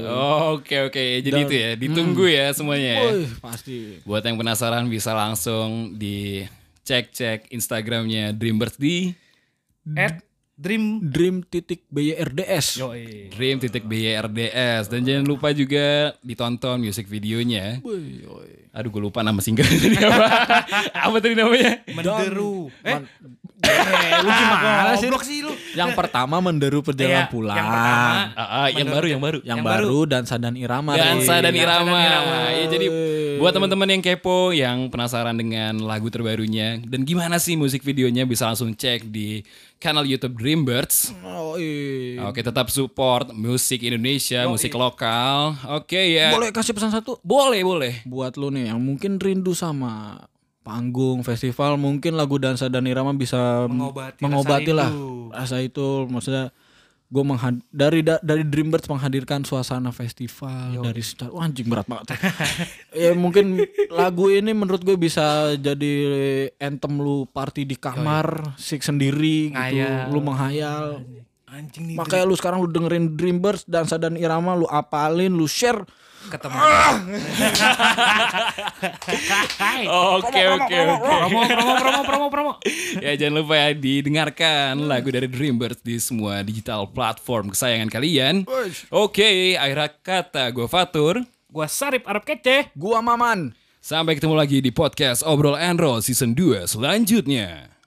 A: Oke, oke. Jadi itu ya, ditunggu ya semuanya
C: Eh.
A: ya.
B: wih, pasti.
A: Buat yang penasaran bisa langsung dicek-cek Instagramnya Dreambirds di
C: at Dream
B: Dream titik BYRDS.
A: E
C: Yoi.
A: dream.byrds dan jangan lupa juga ditonton music videonya.
B: Wih, yoi.
A: Aduh gue lupa nama single tadi apa. apa tadi namanya?
C: Menderu. Eh,
B: lu gimana sih?
C: Goblok sih lu.
B: Yang pertama menderu
C: Iya,
B: perjalanan
C: yang
B: pulang.
C: pertama.
A: Ah, ah, yang baru, yang baru.
B: yang,
C: Yang baru.
B: baru dansa dan irama
A: Dansa
B: Rin.
A: dan Irama.
C: Irama.
A: Ya, jadi buat teman-teman yang kepo, yang penasaran dengan lagu terbarunya dan gimana sih musik videonya bisa langsung cek di kanal YouTube Dreambirds.
B: Oh, iya.
A: Oke, tetap support musik Indonesia, musik lokal. Oke ya.
C: Eh,
B: boleh kasih pesan satu
A: Boleh, boleh.
B: buat lu nih yang mungkin rindu sama panggung festival mungkin lagu dansa dan irama bisa m-
C: Mengobati
B: mengobati
C: rasa
B: lah
C: itu.
B: rasa itu maksudnya gue menghad dari da- dari Dreambirds menghadirkan suasana festival dari secara wah anjing berat banget ya mungkin lagu ini menurut gue bisa jadi anthem lu party di kamar sik sendiri gitu
C: Ngayal.
B: lu menghayal
C: Anjing nih.
B: makanya lu sekarang lu dengerin Dreambirds dansa dan irama lu apalin lu share
C: Ketemu.
A: Oke, oke, oke.
C: Promo promo promo promo promo.
A: Ya jangan lupa ya didengarkan lagu dari Dreambirds di semua digital platform kesayangan kalian. Oke, akhir kata gue Fatur.
C: Gua Sarip Arab Kece.
B: gua maman
A: Sampai ketemu lagi di podcast Obrol and Roll Season 2 selanjutnya.